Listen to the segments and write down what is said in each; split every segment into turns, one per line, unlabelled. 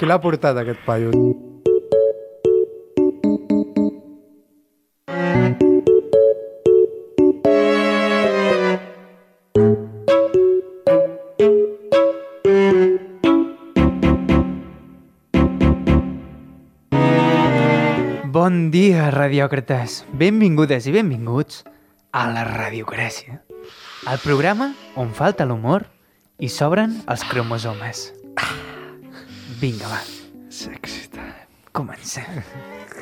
Qui l'ha portat, aquest paio?
Bon dia, radiòcrates. Benvingudes i benvinguts a la Radiocràcia, el programa on falta l'humor i s'obren els cromosomes. Vinga, va,
Sexy time.
comencem.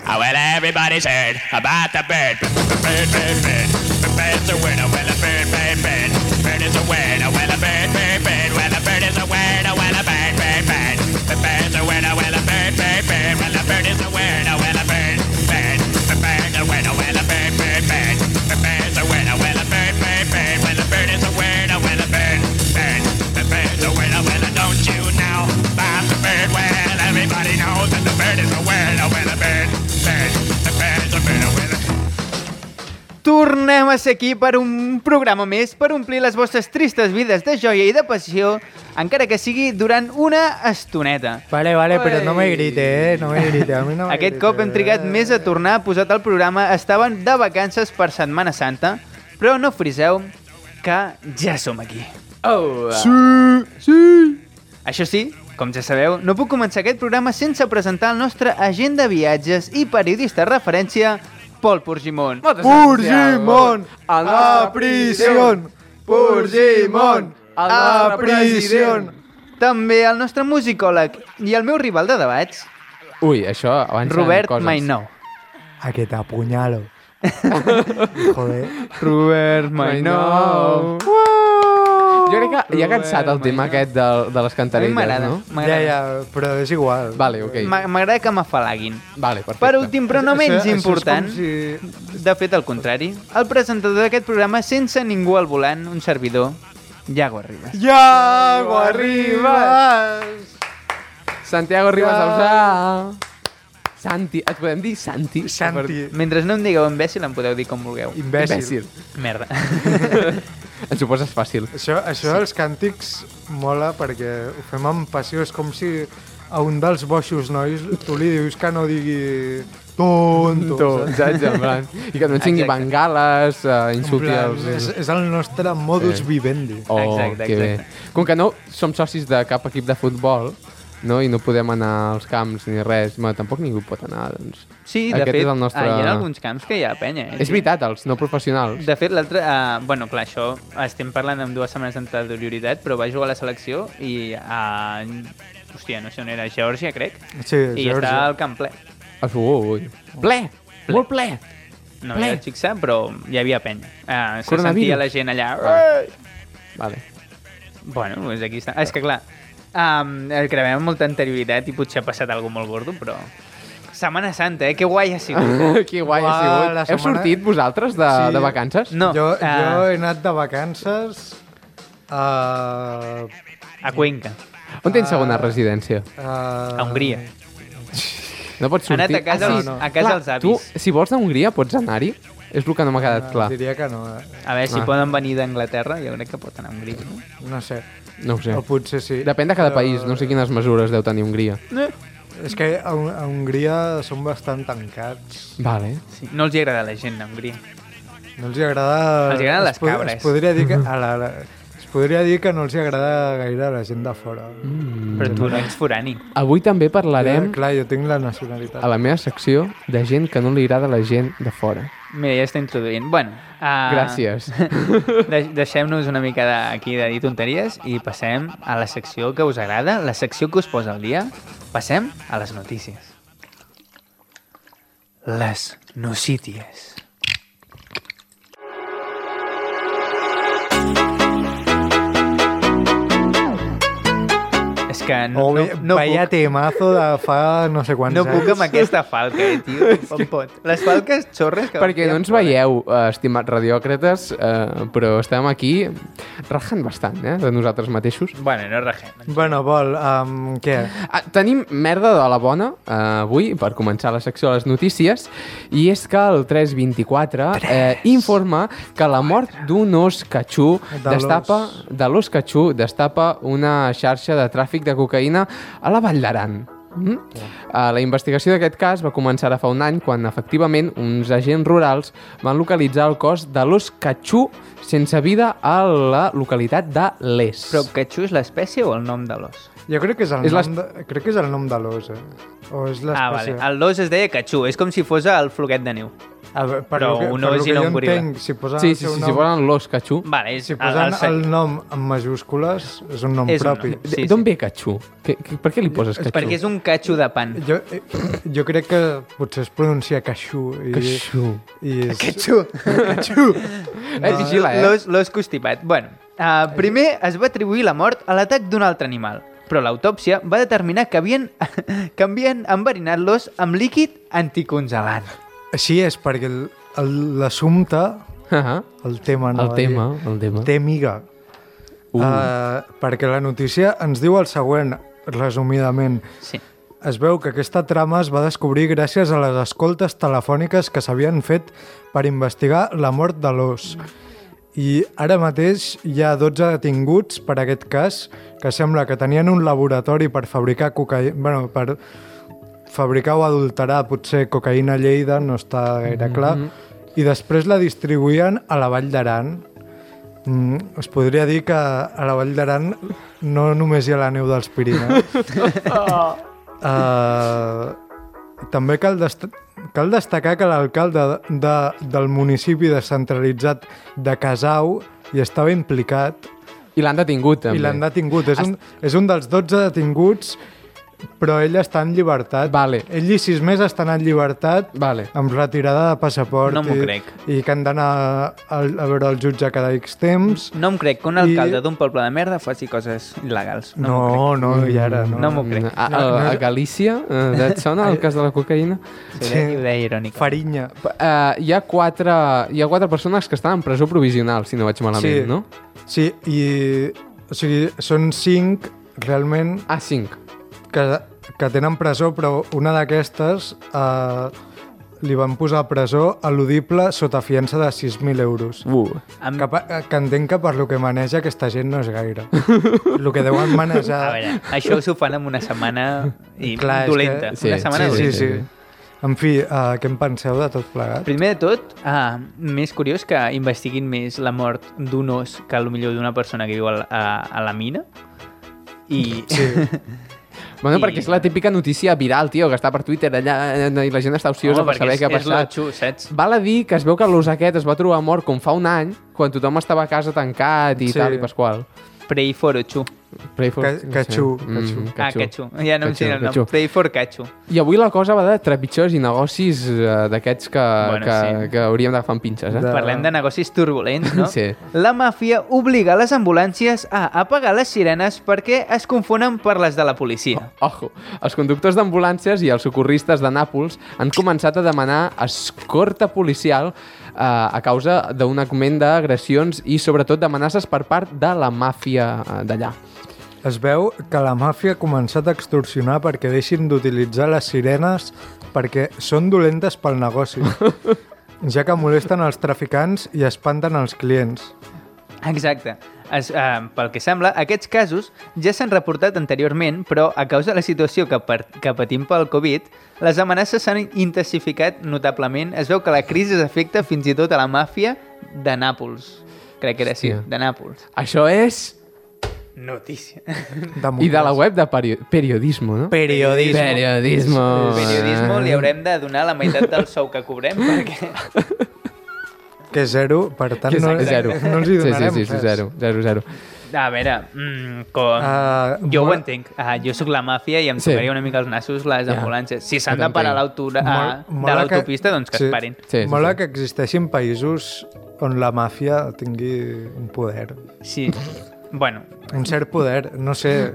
Oh, well, everybody's heard about the bird. Bird, bird, bird. Bird's a winner. Well, a bird, bird, bird. Bird is a winner. Well, a bird, bird, bird. Well, a bird is a winner. Well, a bird, bird, bird. The bird's a winner. Well, a bird, bird, bird. Well, a bird is a winner. Well, a bird, bird. The bird's a winner. Well, a bird, bird, bird. The bird's a winner. Well, a bird, bird, bird. Well, a bird is a winner. Well, a bird, bird. The bird's a winner. Well, don't you know about the bird? Well, everybody knows that the bird is a winner. Well, a bird, bird. The bird's a winner. Well, a
Tornem a ser aquí per un programa més per omplir les vostres tristes vides de joia i de passió, encara que sigui durant una estoneta.
Vale, vale, però no me
Ui.
grite, eh? No me grite, a mi no me
Aquest
grite,
cop hem trigat
eh?
més a tornar a posar el programa. Estaven de vacances per Setmana Santa, però no friseu que ja som aquí. Oh! Sí! Sí! Això sí, com ja sabeu, no puc començar aquest programa sense presentar el nostre agent de viatges i periodista de referència, Pol Purgimon.
Purgimon,
Al
a
nostre
prisión. Purgimon,
Al
a
nostre
prisión.
president.
També el nostre musicòleg i el meu rival de debats,
Ui, això abans eren
Robert
coses.
Mainou.
A que te apuñalo. Joder.
Robert
Mainou. Jo crec que ja ha cansat el
Robert
tema
Mainou.
aquest de, de les
A mi
cantarelles,
m'agrada,
no?
Ja,
m'agrada.
ja, però és igual.
Vale, ok.
M'a- M'agrada que m'afalaguin.
Vale, perfecte.
Per últim, però no menys
Això- això és
important,
com si-
de fet, al contrari, el presentador d'aquest programa, sense ningú al volant, un servidor, Iago Ribas.
Ja, ho arribes!
Santiago Ribas Ausà. Santi, et podem dir Santi?
Santi,
Mentre no em digueu imbècil, em podeu dir com vulgueu.
imbècil.
Imbècil.
Merda.
Ens ho poses fàcil.
Això, això dels càntics mola perquè ho fem amb passió. És com si a un dels boixos nois tu li dius que no digui tonto.
Tu,
saps?
saps? En plan, I que
Exacte.
no encengui bengales, uh,
En
insulti
plan,
els...
és, és el nostre modus
Sí.
vivendi.
Oh,
Exacte,
que bé.
exacte.
Com que no som socis de cap equip de futbol, no? i no podem anar als camps ni res, bueno, tampoc ningú pot anar, doncs.
Sí, de
Aquest
fet,
és el nostre...
ah, hi ha alguns camps que hi ha penya. Eh?
És veritat, els no professionals.
De fet, l'altre... Uh, bueno, clar, això estem parlant amb dues setmanes d'anterioritat, però va jugar a la selecció i... Uh, hòstia, no sé on era, Geòrgia, crec.
Sí,
I
Georgia.
està al camp ple.
Ah, Ui, ui. Ple! Molt ple!
No
Ple.
m'hi vaig fixar, però hi havia penya. Uh, se
Coronavirus.
sentia la gent allà... oh.
Ah. Vale.
Bueno, doncs aquí està. És que clar, um, el gravem amb molta anterioritat i potser ha passat alguna molt gordo, però... Setmana Santa, eh? Que guai ha sigut.
que guai ha
Uah, la
sigut. Heu
setmana-
sortit vosaltres de,
Sí.
de vacances?
No,
Jo, jo
eh,
he anat de vacances eh, a...
a Cuenca.
On tens segona
Ah.
residència?
A,
A Hongria.
No pots
Ha
sortir? Ah,
anat a casa
els-
a casa
Clar,
els avis.
Tu, si vols a Hongria, pots anar-hi? És el que no m'ha quedat clar.
Diria que no, eh?
A veure, si
Ah.
poden venir d'Anglaterra, jo crec que pot anar a Hongria. No?
no sé.
No ho sé.
O potser sí.
Depèn de cada
però
país, no sé quines mesures deu tenir Hongria.
És que a, Hon- a Hongria són bastant tancats.
Vale.
Sí. No els hi agrada la gent a Hongria.
No els hi agrada...
Els hi agraden
es
les
pod-
cabres. Mm-hmm.
Es podria dir que... A la, la, es podria dir que no els hi agrada gaire a la gent de fora. Mm.
Però tu no ets forani.
Avui també parlarem
clar, jo tinc la nacionalitat.
a la meva secció de gent que no li agrada la gent de fora.
Mira, ja està introduint. Bueno, uh,
Gràcies.
De Deixem-nos una mica de, aquí de dir tonteries i passem a la secció que us agrada, la secció que us posa al dia. Passem a les notícies. Les nocíties. És que no,
Oh,
no, no
vaya
puc,
temazo de fa no sé quants
no
anys.
puc amb aquesta falca, eh, tio. Com pot? Les falques xorres que...
Perquè no ens veieu, eh, estimats radiòcrates, eh, però estem aquí rajant bastant, eh, de nosaltres mateixos.
Bueno, no regem.
Bueno, Pol, um, què?
Ah, tenim merda de la bona eh, avui per començar la secció de les notícies i és que el 324 eh, informa que la mort d'un os catxú
De
destapa, de l'os catxú destapa una xarxa de tràfic de cocaïna a la Vall d'Aran. Mm -hmm. uh, la investigació d'aquest cas va començar ara fa un any quan, efectivament, uns agents rurals van localitzar el cos de l'os catxú sense vida a la localitat de Les.
Però Catxú és l'espècie o el nom de l'os?
Jo crec que és el,
És
nom, de, crec que és el nom de l'os, eh? O és l'espècie.
Ah, vale. El dos es deia Catxú, és com si fos el floquet de neu.
A veure, per
Però
lo que,
un
per
os
lo
i
que
no
jo
un goril·la.
entenc, si posen
Sí,
el
sí,
seu
sí, si
nom,
posen l'os catxú.
Vale, és,
si posen
se-
el nom en majúscules, és un nom
És un nom.
propi.
Sí,
Sí, D'on
sí.
ve catxú? Que, que, per què li poses catxú?
Perquè és un catxo de pan.
Jo, eh, jo crec que potser es pronuncia caixú. I,
Catxú.
I és...
Catxú.
Caixú!
Eh, vigila, eh?
L'os- L'os constipat. Bueno, uh, primer es va atribuir la mort a l'atac d'un altre animal, però l'autòpsia va determinar que havien, que havien enverinat l'os amb líquid anticongelant.
Així és, perquè el- el- l'assumpte,
Ah,
el tema...
El
anava a dir,
tema,
eh.
el tema.
Té miga.
Uh.
Uh. Uh, perquè la notícia ens diu el següent, resumidament.
Sí.
Es veu que aquesta trama es va descobrir gràcies a les escoltes telefòniques que s'havien fet per investigar la mort de l'os. I ara mateix hi ha 12 detinguts per aquest cas, que sembla que tenien un laboratori per fabricar cocaïna... Bueno, per fabricar o adulterar potser cocaïna a Lleida, no està gaire clar, mm -hmm. i després la distribuïen a la Vall d'Aran. Mm, es podria dir que a la Vall d'Aran no només hi ha la neu dels Pirineus, Eh, també cal, dest cal destacar que l'alcalde de, de, del municipi descentralitzat de Casau hi estava implicat
I l'han detingut, també.
i l'han detingut. És un, és un dels 12 detinguts, però ell està en llibertat.
Vale.
Ell i sis més estan en llibertat
Vale.
Ah,
amb retirada de passaport
No m'ho
i,
crec.
i que han d'anar a, a veure el jutge cada X temps.
No em crec que un
I-
alcalde d'un poble de merda faci coses il·legals. No, m'ho crec.
No, no, no i ara no.
No m'ho crec.
Mm, A, a, a Galícia, eh, et sona el cas de la cocaïna?
Sí.
Sí.
Idea irònica.
Farinha.
Uh, hi, ha quatre, hi ha quatre persones que estan en presó provisional, si no vaig malament, no?
Sí, i... O sigui, són cinc realment
Ah, cinc.
que, que tenen presó, però una d'aquestes eh, li van posar presó eludible sota fiança de 6.000 euros.
Uh.
Amb-
Que, pa- que entenc que per lo que maneja aquesta gent no és gaire. Lo que deuen manejar...
A veure, això s'ho fan en una setmana i
Clar, és que-
dolenta.
Sí,
una setmana
sí, sí,
dolenta.
sí. En fi, eh, què en penseu de tot plegat?
Primer de tot, ah, més curiós que investiguin més la mort d'un os que a lo millor d'una persona que viu a, la- a, a la mina. I... Sí.
Bueno,
I-
perquè és la típica notícia viral, tio, que està per Twitter allà eh, i la gent està ociosa per saber
és,
què ha
és lo
passat.
xu, saps?
Val a dir que es veu que l'os aquest es va trobar mort com fa un any, quan tothom estava a casa tancat i
Sí.
sí. tal i pasqual.
Pray for Ochu.
Pray for...
Ca- catxú, catxú.
Mm,
Ah,
catxú.
Catxu. Ja no em
Catxú,
sé el nom.
catxú.
Pray for Catxu.
I avui la cosa va de trepitjors i negocis eh, d'aquests que,
Bueno,
bueno, que,
sí.
sí. que hauríem d'agafar amb pinces, eh?
De-
Parlem de negocis turbulents, no?
Sí.
La màfia obliga les ambulàncies a apagar les sirenes perquè es confonen per les de la policia.
Ojo, els conductors d'ambulàncies i els socorristes de Nàpols han començat a demanar escorta policial eh, a causa d'un augment d'agressions i sobretot d'amenaces per part de la màfia eh, d'allà.
Es veu que la màfia ha començat a extorsionar perquè deixin d'utilitzar les sirenes perquè són dolentes pel negoci, ja que molesten els traficants i espanten els clients.
Exacte. Es, eh, pel que sembla, aquests casos ja s'han reportat anteriorment, però a causa de la situació que, per, que patim pel Covid, les amenaces s'han intensificat notablement. Es veu que la crisi afecta fins i tot a la màfia de Nàpols. Crec que era així,
Hòstia.
de Nàpols.
Això és...
Notícia.
I de la web de perio periodismo, no?
Periodisme.
Periodismo.
Periodisme li haurem de donar la meitat del sou que cobrem, perquè...
Que és zero, per tant,
Que
no,
és zero.
no els hi donarem
sí, sí, sí, sí,
res.
zero, zero, zero.
A veure, mm, com...
Ah,
jo ho
molt-
entenc. Ah, jo sóc la màfia i em
Sí.
tocaria una mica els nassos les
Ja.
ambulàncies. Si
Jo
s'han de
t'entenc.
parar a l'autora ah, de
mola
l'autopista, doncs que
sí.
es parin.
Sí, sí,
Mola
sí.
que existeixin països on la màfia tingui un poder.
Sí. Bueno,
Un cert poder, no sé...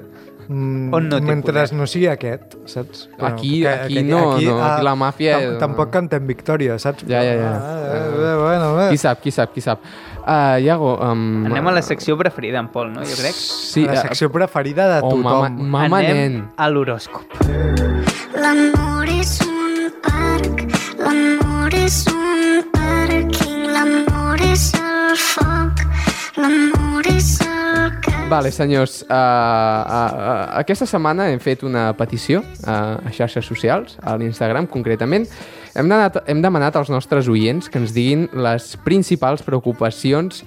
mm,
On no té
mentre
poder.
no sigui aquest, saps?
Aquí- aquí no, no, aquí la màfia-
ah, tam- Tampoc cantem victòria, saps?
Ja, ja, ja.
Ah, eh, bueno, eh.
Qui sap, qui sap, qui sap. Uh, Iago... Um,
anem a la secció preferida en Pol, no? Jo crec.
Sí, eh,
la secció preferida de
Oh,
tothom.
mama, mama
anem
nen.
a l'horòscop.
L'amor és un parc, l'amor és un pàrquing, l'amor és el foc, l'amor és el cap.
Vale, senyors, uh, uh, uh, aquesta setmana hem fet una petició uh, a xarxes socials, a l'Instagram concretament. Hem, anat, hem demanat als nostres oients que ens diguin les principals preocupacions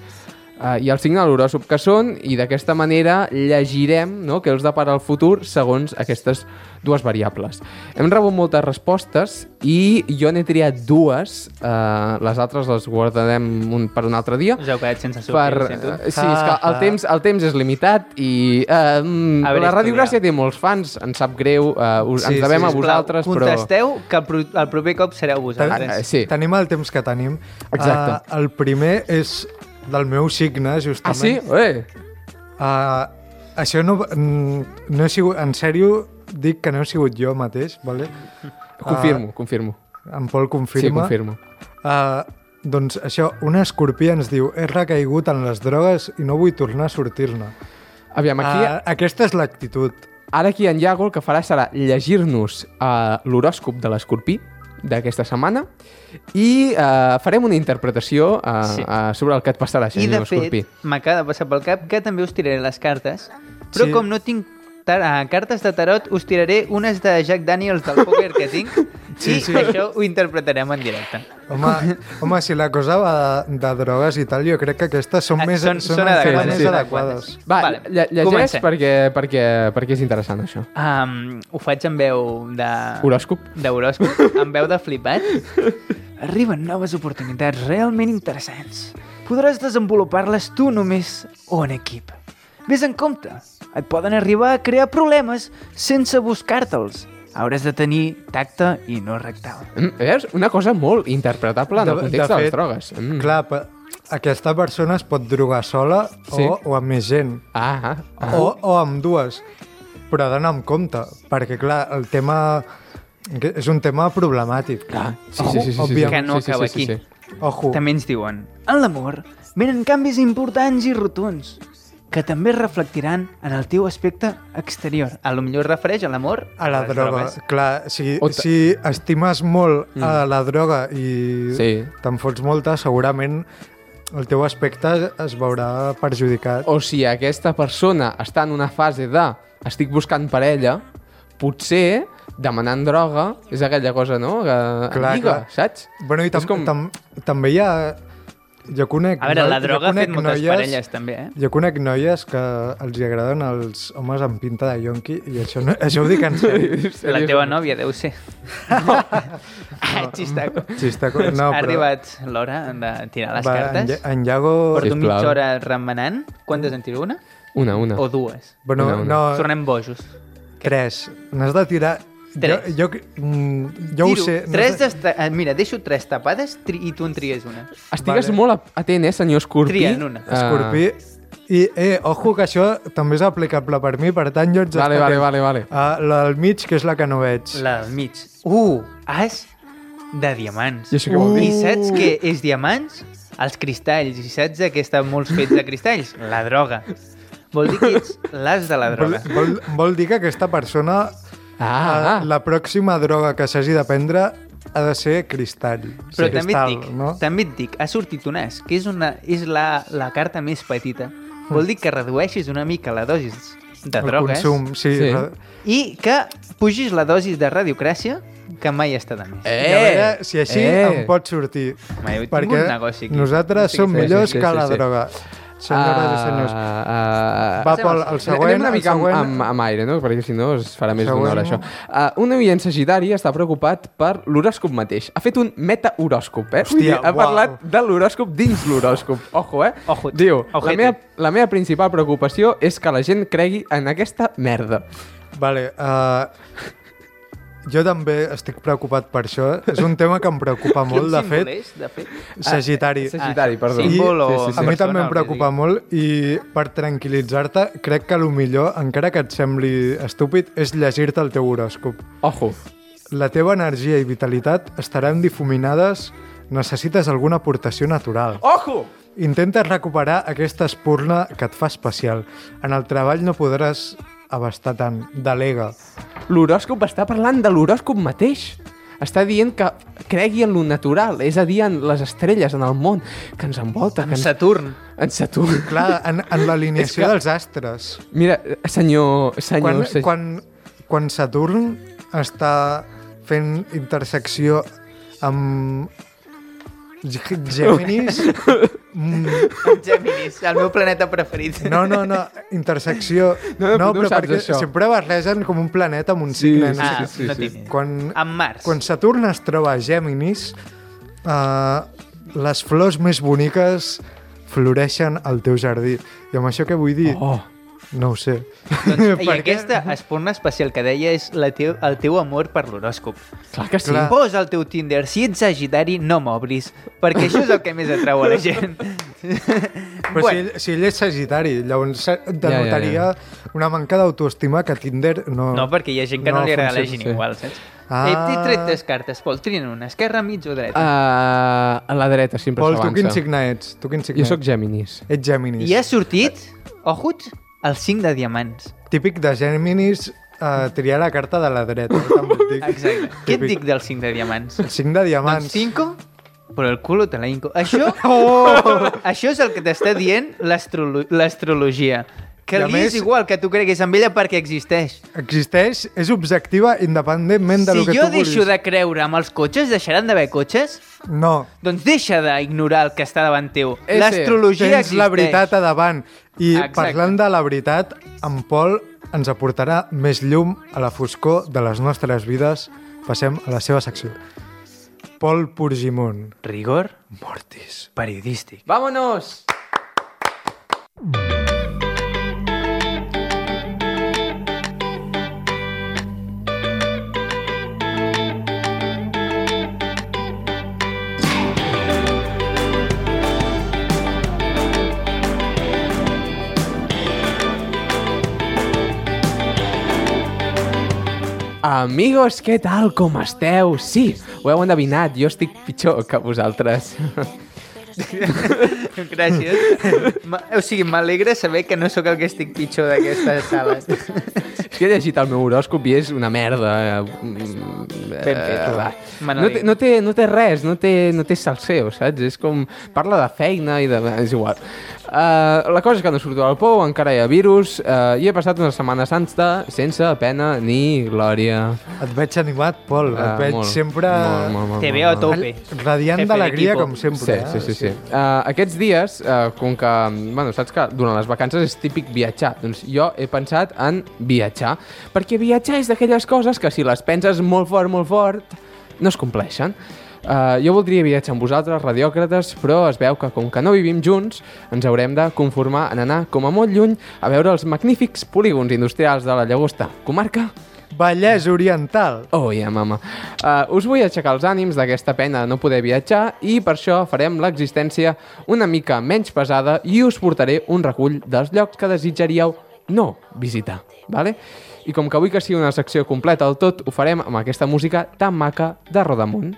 uh, i el signal horòscop que són i d'aquesta manera llegirem no, què els depara el futur segons aquestes dues variables. Hem rebut moltes respostes i jo n'he triat dues, uh, les altres les guardarem un, per un altre dia
Us heu quedat sense
per... eh,
sorpresa, tu?
Sí, és que el temps, el temps és limitat i
A
eh, mm,
veure,
la
estudiar.
Radiogràcia té molts fans, ens sap greu, eh, us,
Sí,
ens devem
sí,
a
sisplau,
vosaltres, però...
Contesteu que el, pro el proper cop sereu vosaltres.
Eh, sí.
Tenim el temps que tenim.
Exacte.
Uh, el primer és del meu signe,
Ah, sí?
justament.
Eh.
Uh, això no, mm, no he sigut... En sèrio, dic que no he sigut jo mateix, vale?
Confirmo, confirmo.
En Pol
Sí,
confirma.
confirmo.
Uh, doncs això, una escorpia ens diu he recaigut en les drogues i no vull tornar a sortir-ne.
Aviam, aquí,
Uh, aquesta és l'actitud.
ara aquí en Iago el que farà serà llegir-nos eh, l'horòscop de l'escorpí d'aquesta setmana i eh, farem una interpretació eh,
Sí.
sí. eh, sobre el que et passarà,
I de
senyor escorpí.
fet, m'acaba de passar pel cap que també us tiraré les cartes,
Sí.
però sí. com no tinc tar ah, cartes de tarot, us tiraré unes de Jack Daniels del pòquer que tinc sí, i sí. això ho interpretarem en directe.
Home, home, si la cosa va de, de drogues i tal, jo crec que aquestes són
Ah,
més,
són-
són
són
encara
Eh, adequades,
més
sí.
adequades.
Va,
Vale,
vale. lle llegeix
comencem.
perquè, perquè, perquè és interessant, això.
Um, ho faig amb veu de...
Horòscop.
d'horòscop, amb veu de flipat. Arriben noves oportunitats realment interessants. Podràs desenvolupar-les tu només o en equip. Ves en compte, et poden arribar a crear problemes sense buscar-te'ls. Hauràs de tenir tacte i no rectal.
Mm, veus? Una cosa molt interpretable en el context de, les drogues. Mm.
Clar, pe- aquesta persona es pot drogar sola sí.
Sí.
o, o amb més gent,
Ah, ah, ah.
o, o amb dues, però ha d'anar amb compte, perquè clar, el tema que és un tema problemàtic.
Clar. Sí, sí, sí, sí, sí, sí.
Òbviament.
Que no acaba aquí.
Ojo,
També ens diuen, en l'amor venen canvis importants i rotunds que també es reflectiran en el teu aspecte exterior. A lo millor es refereix a l'amor
a la
les
droga.
drogues.
Clar, si,
O ta- Mm.
si estimes molt a la droga i
Sí.
te'n fots molta, segurament el teu aspecte es veurà perjudicat.
O si aquesta persona està en una fase de estic buscant parella, potser demanant droga és aquella cosa, no? Que
Clar,
lliga,
clar.
saps?
Bueno, i tam,
És com-
com... tam, també hi ha... Jo conec...
A veure,
noi-
la
jo
droga ha
conec
fet moltes
noies-
parelles, també, eh?
Jo conec noies que els hi agraden els homes amb pinta de yonqui i això, no, això ho dic en sèrio.
La teva nòvia deu ser. ah, xistaco.
Sí, està... co- No,
No,
però...
Ha arribat l'hora de tirar les
va, En,
cartes.
Lla- en Iago...
Porto
Sisplau.
mitja hora remenant. Quantes en tiro? Una?
Una, una.
O dues?
Bueno,
No, no.
no, no
Tornem bojos.
tres. N'has de tirar...
Tres.
Jo, jo, mm, jo ho
Tiro
sé. n'has
Tres
de...
desta... eh, Mira, deixo tres tapades tri... i tu en tries una.
Estigues
Vale.
molt ap- atent, eh, senyor Ah. Escorpí?
Tria en una.
Ah. Escorpí... I, eh, ojo, que això també és aplicable per mi, per tant, jo ets...
Ah, vale, vale, vale, vale.
Uh, la del mig, que és la que no veig.
La del mig. Uh, as de diamants.
I això què vol dir?
I saps
Uh.
què és diamants? Els cristalls. I saps de què estan molts fets de cristalls? La droga. Vol dir que ets l'as de la
Vol,
droga.
vol, vol dir que aquesta persona
Ah, ah.
Ah. La pròxima droga que s'hagi de prendre ha de ser cristall. Sí.
Però també et
Cristal,
dic,
no?
també et dic, ha sortit un as, que és, una, és la, la carta més petita. Vol dir que redueixis una mica la dosi de
Mm. El
drogues
consum, sí.
Sí.
sí.
i que pugis la dosi de radiocràcia que mai està de més.
I a veure si així eh. em pot sortir.
Eh. Home, jo tinc
Perquè
un negoci aquí.
nosaltres
Sí,
som
sí,
millors
sí,
que
sí,
la
sí.
droga. Senyores i senyors.
Ah, ah,
Va, Pol, el següent...
Anem una mica
el següent,
amb, amb, amb aire, no? Perquè si no es farà més
Següent.
d'una hora, això. Uh, un oient sagitari està preocupat per l'horòscop mateix. Ha fet un metahoròscop, eh? Vull
Hòstia,
dir, ha
uau.
parlat de l'horòscop dins l'horòscop. Ojo, eh?
Ojo.
Diu, la
Ojete.
meva, la meva principal preocupació és que la gent cregui en aquesta merda.
Vale, uh, jo també estic preocupat per això. És un tema que em preocupa molt, de fet.
És, de fet?
Sagitari.
Sagitari,
Ah,
perdó.
símbol o-
a mi
persona,
també em
el que
preocupa
digui.
molt i per tranquil·litzar-te crec que el millor, encara que et sembli estúpid, és llegir-te el teu horòscop.
Ojo.
La teva energia i vitalitat estaran difuminades, necessites alguna aportació natural.
Ojo!
Intentes recuperar aquesta espurna que et fa especial. En el treball no podràs abastar tant, delega.
L'horòscop està parlant de l'horòscop mateix. està dient que cregui en lo natural, és a dir, en les estrelles, en el món que ens envolta, que
En
ens...
Saturn.
en Saturn.
Clar, en, en l'alineació
És que-
dels astres.
Mira, senyor... senyor
Quan,
se-
quan, quan Saturn està fent intersecció amb G- Géminis,
En Géminis, el meu planeta preferit.
no, no, no, intersecció...
No, no, tu ho
però
saps,
perquè
això.
sempre barregen com un planeta amb un
Sí,
signe.
sí,
No
Ah,
sé
sí,
no
sí.
tinc.
què. Quan,
En Mars.
Quan Saturn es troba a Géminis, uh, les flors més boniques floreixen al teu jardí. I amb això què vull dir?
Oh,
No ho sé.
Doncs, I
Perquè-
aquesta espurna especial que deia és la teu, el teu amor per l'horòscop.
clar que sí.
Clar.
Clar.
Posa el teu Tinder, si ets sagitari, no m'obris, perquè això és el que més atrau a la gent.
Però bueno. si, ell, si ell és sagitari, llavors se- denotaria ja,
Ja,
ja, ja. una manca d'autoestima que Tinder no...
No, perquè hi ha gent que no, no li agrada la gent
sí.
igual, saps? Ah.
Ah.
Eh, t'he tret tres cartes, Pol, trina una, esquerra, mig o dreta.
Uh, Eh, a la dreta sempre
Pol, tu quin
s'avança.
signe ets? Tu quin signe
Jo sóc Géminis.
ets? Ets Géminis.
I ha sortit, ojut, el 5 de diamants.
Típic de Géminis eh, triar la carta de la dreta. eh, també et dic.
Exacte. Què et
Típic.
dic del 5 de diamants?
El cinc de diamants.
Doncs 5, però el culo te la inco. Això,
Oh!
això és el que t'està dient l'astrolo- l'astrologia.
I
Que
a
li
més-
és igual que tu creguis en ella perquè existeix.
Existeix, és objectiva independentment de
si
lo que tu
jo
vulguis.
deixo de creure amb els cotxes, deixaran d'haver cotxes?
No,
Doncs deixa d'ignorar el que està davant teu.
Ese,
L'astrologia
tens
existeix.
la veritat a davant. I
Exacte.
Exacte. parlant de la veritat, en Pol ens aportarà més llum a la foscor de les nostres vides. Passem a la seva secció. Pol Purgimon.
Rigor
Mortis.
periodístic.
Vámonos! Amigos, què tal? Com esteu? Sí, ho heu endevinat, jo estic pitjor que vosaltres.
Gràcies. Ma- o sigui, m'alegra saber que no sóc el que estic pitjor d'aquestes sales.
És que he llegit el meu horòscop i és una merda. Mm,
Ben fet,
eh,
va.
va. no,
Manoli.
té, no, té, no té res, no té, no té salseo, saps? És com... Parla de feina i de... És igual. Uh, la cosa és que no surto del pou, encara hi ha virus, uh, i he passat una setmana santa sense pena ni glòria.
Et veig animat, Pol.
Ah,
Uh,
Eh,
Et veig
molt,
sempre
molt, molt, molt,
Te
molt,
veo a
molt.
tope.
radiant
Jefe
d'alegria,
d'equipo.
com sempre.
Sí,
eh?
sí, sí. sí. Uh, aquests dies, uh, com que, bueno, saps que durant les vacances és típic viatjar, doncs jo he pensat en viatjar, perquè viatjar és d'aquelles coses que si les penses molt fort, molt fort, no es compleixen. Uh, jo voldria viatjar amb vosaltres, radiòcrates, però es veu que com que no vivim junts, ens haurem de conformar en anar com a molt lluny a veure els magnífics polígons industrials de la Llagosta, comarca
Vallès Oriental.
Oh, ja, yeah, mama. Uh, us vull aixecar els ànims d'aquesta pena de no poder viatjar i per això farem l'existència una mica menys pesada i us portaré un recull dels llocs que desitjaríeu no visitar, vale? I com que vull que sigui una secció completa del tot, ho farem amb aquesta música tan maca de Rodamunt.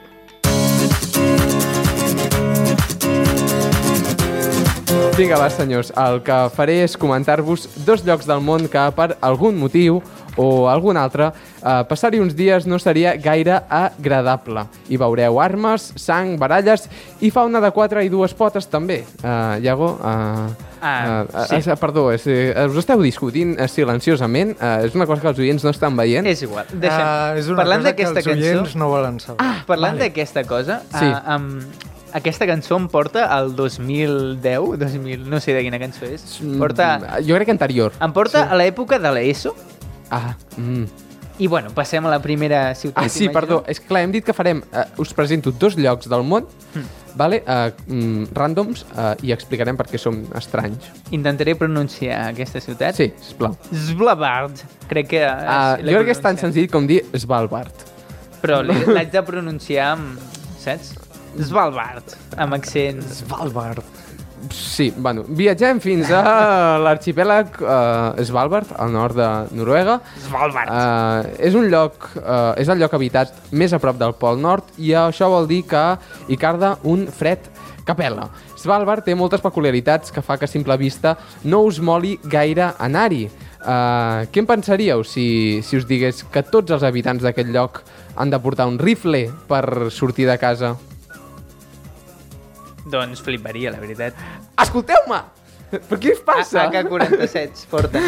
Vinga, va, senyors. El que faré és comentar-vos dos llocs del món que, per algun motiu o algun altre, eh, passar-hi uns dies no seria gaire agradable. Hi veureu armes, sang, baralles i fauna de quatre i dues potes, també. Eh, Iago, eh,
Ah,
eh,
sí.
eh, perdó, és, eh, us esteu discutint eh, silenciosament. Eh, és una cosa que els oients no estan veient.
És igual. Deixem.
Ah, és una
Parlant
cosa que els
d'aquesta cançó...
oients no volen saber.
Ah, parlant vale. d'aquesta cosa,
Sí.
sí. uh, um, aquesta cançó em porta al 2010, 2000, no sé de quina cançó és,
Mm,
porta,
Jo crec que anterior.
em porta sí. a l'època de l'ESO,
Ah, mm.
i bueno, passem a la primera ciutat.
Ah, sí,
imagino.
perdó. És que clar, hem dit que farem... Eh, us presento dos llocs del món, vale? Eh, mm, randoms, eh, i explicarem per què som estranys.
Intentaré pronunciar aquesta ciutat.
Sí, sisplau.
Eh, Svalbard, crec que...
Uh, jo crec que és tan senzill com dir Svalbard.
Però l'he- l'haig de pronunciar amb... Saps? Svalbard, amb accent...
Svalbard.
Sí, bueno, viatgem fins a l'arxipèlag eh, Svalbard, al nord de Noruega.
Svalbard.
Eh, és un lloc, eh, és el lloc habitat més a prop del Pol Nord i això vol dir que hi carda un fred que pela. Svalbard té moltes peculiaritats que fa que a simple vista no us moli gaire anar-hi. Uh, què en pensaríeu si, si us digués que tots els habitants d'aquest lloc han de portar un rifle per sortir de casa?
Doncs fliparia, la veritat.
Escolteu-me! Però què us
Ah,
passa?
AK-47 porta.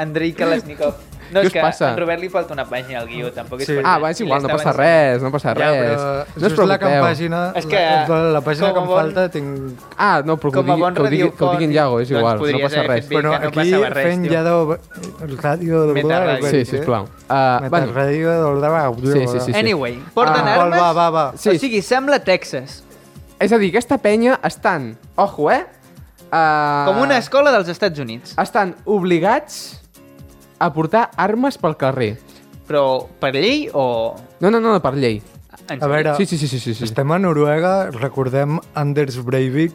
Andrei Kalashnikov. No,
Què
és
us
que
passa?
en Robert li falta una pàgina al guió, tampoc és
Sí.
per
Ah,
tant.
va, és igual, no
L'estava
passa
ensenyant.
res, no
Ja,
passa res.
Eh,
no us
just la que em
preocupeu.
pàgina,
És que,
la, la, la pàgina que em
com a bon-
falta tinc...
Ah, no, però que ho,
Com a
digui,
bon
que, ho digui, que ho digui en Iago, és
radiofònic,
igual,
doncs
no
podries
passa
haver
res.
fet bé.
Bueno,
que no
aquí
passava res,
fent
tio.
ja de... Ràdio de
Metarràdio.
Sí, sisplau. Uh, bueno,
Metarràdio de...
Sí, sí, sí, sí.
Anyway, Eh, porten
Ah.
armes...
eh? Va, va, va.
Sí.
O sigui, sembla Texas.
és a dir, aquesta penya estan, ojo, eh? Uh,
Com una escola dels Estats Units.
Estan obligats a portar armes pel carrer.
Però per llei o...
No, no, no, no per llei.
en
A
sèrio?
veure,
Sí, sí, sí, sí, sí. sí.
estem a Noruega, recordem Anders Breivik.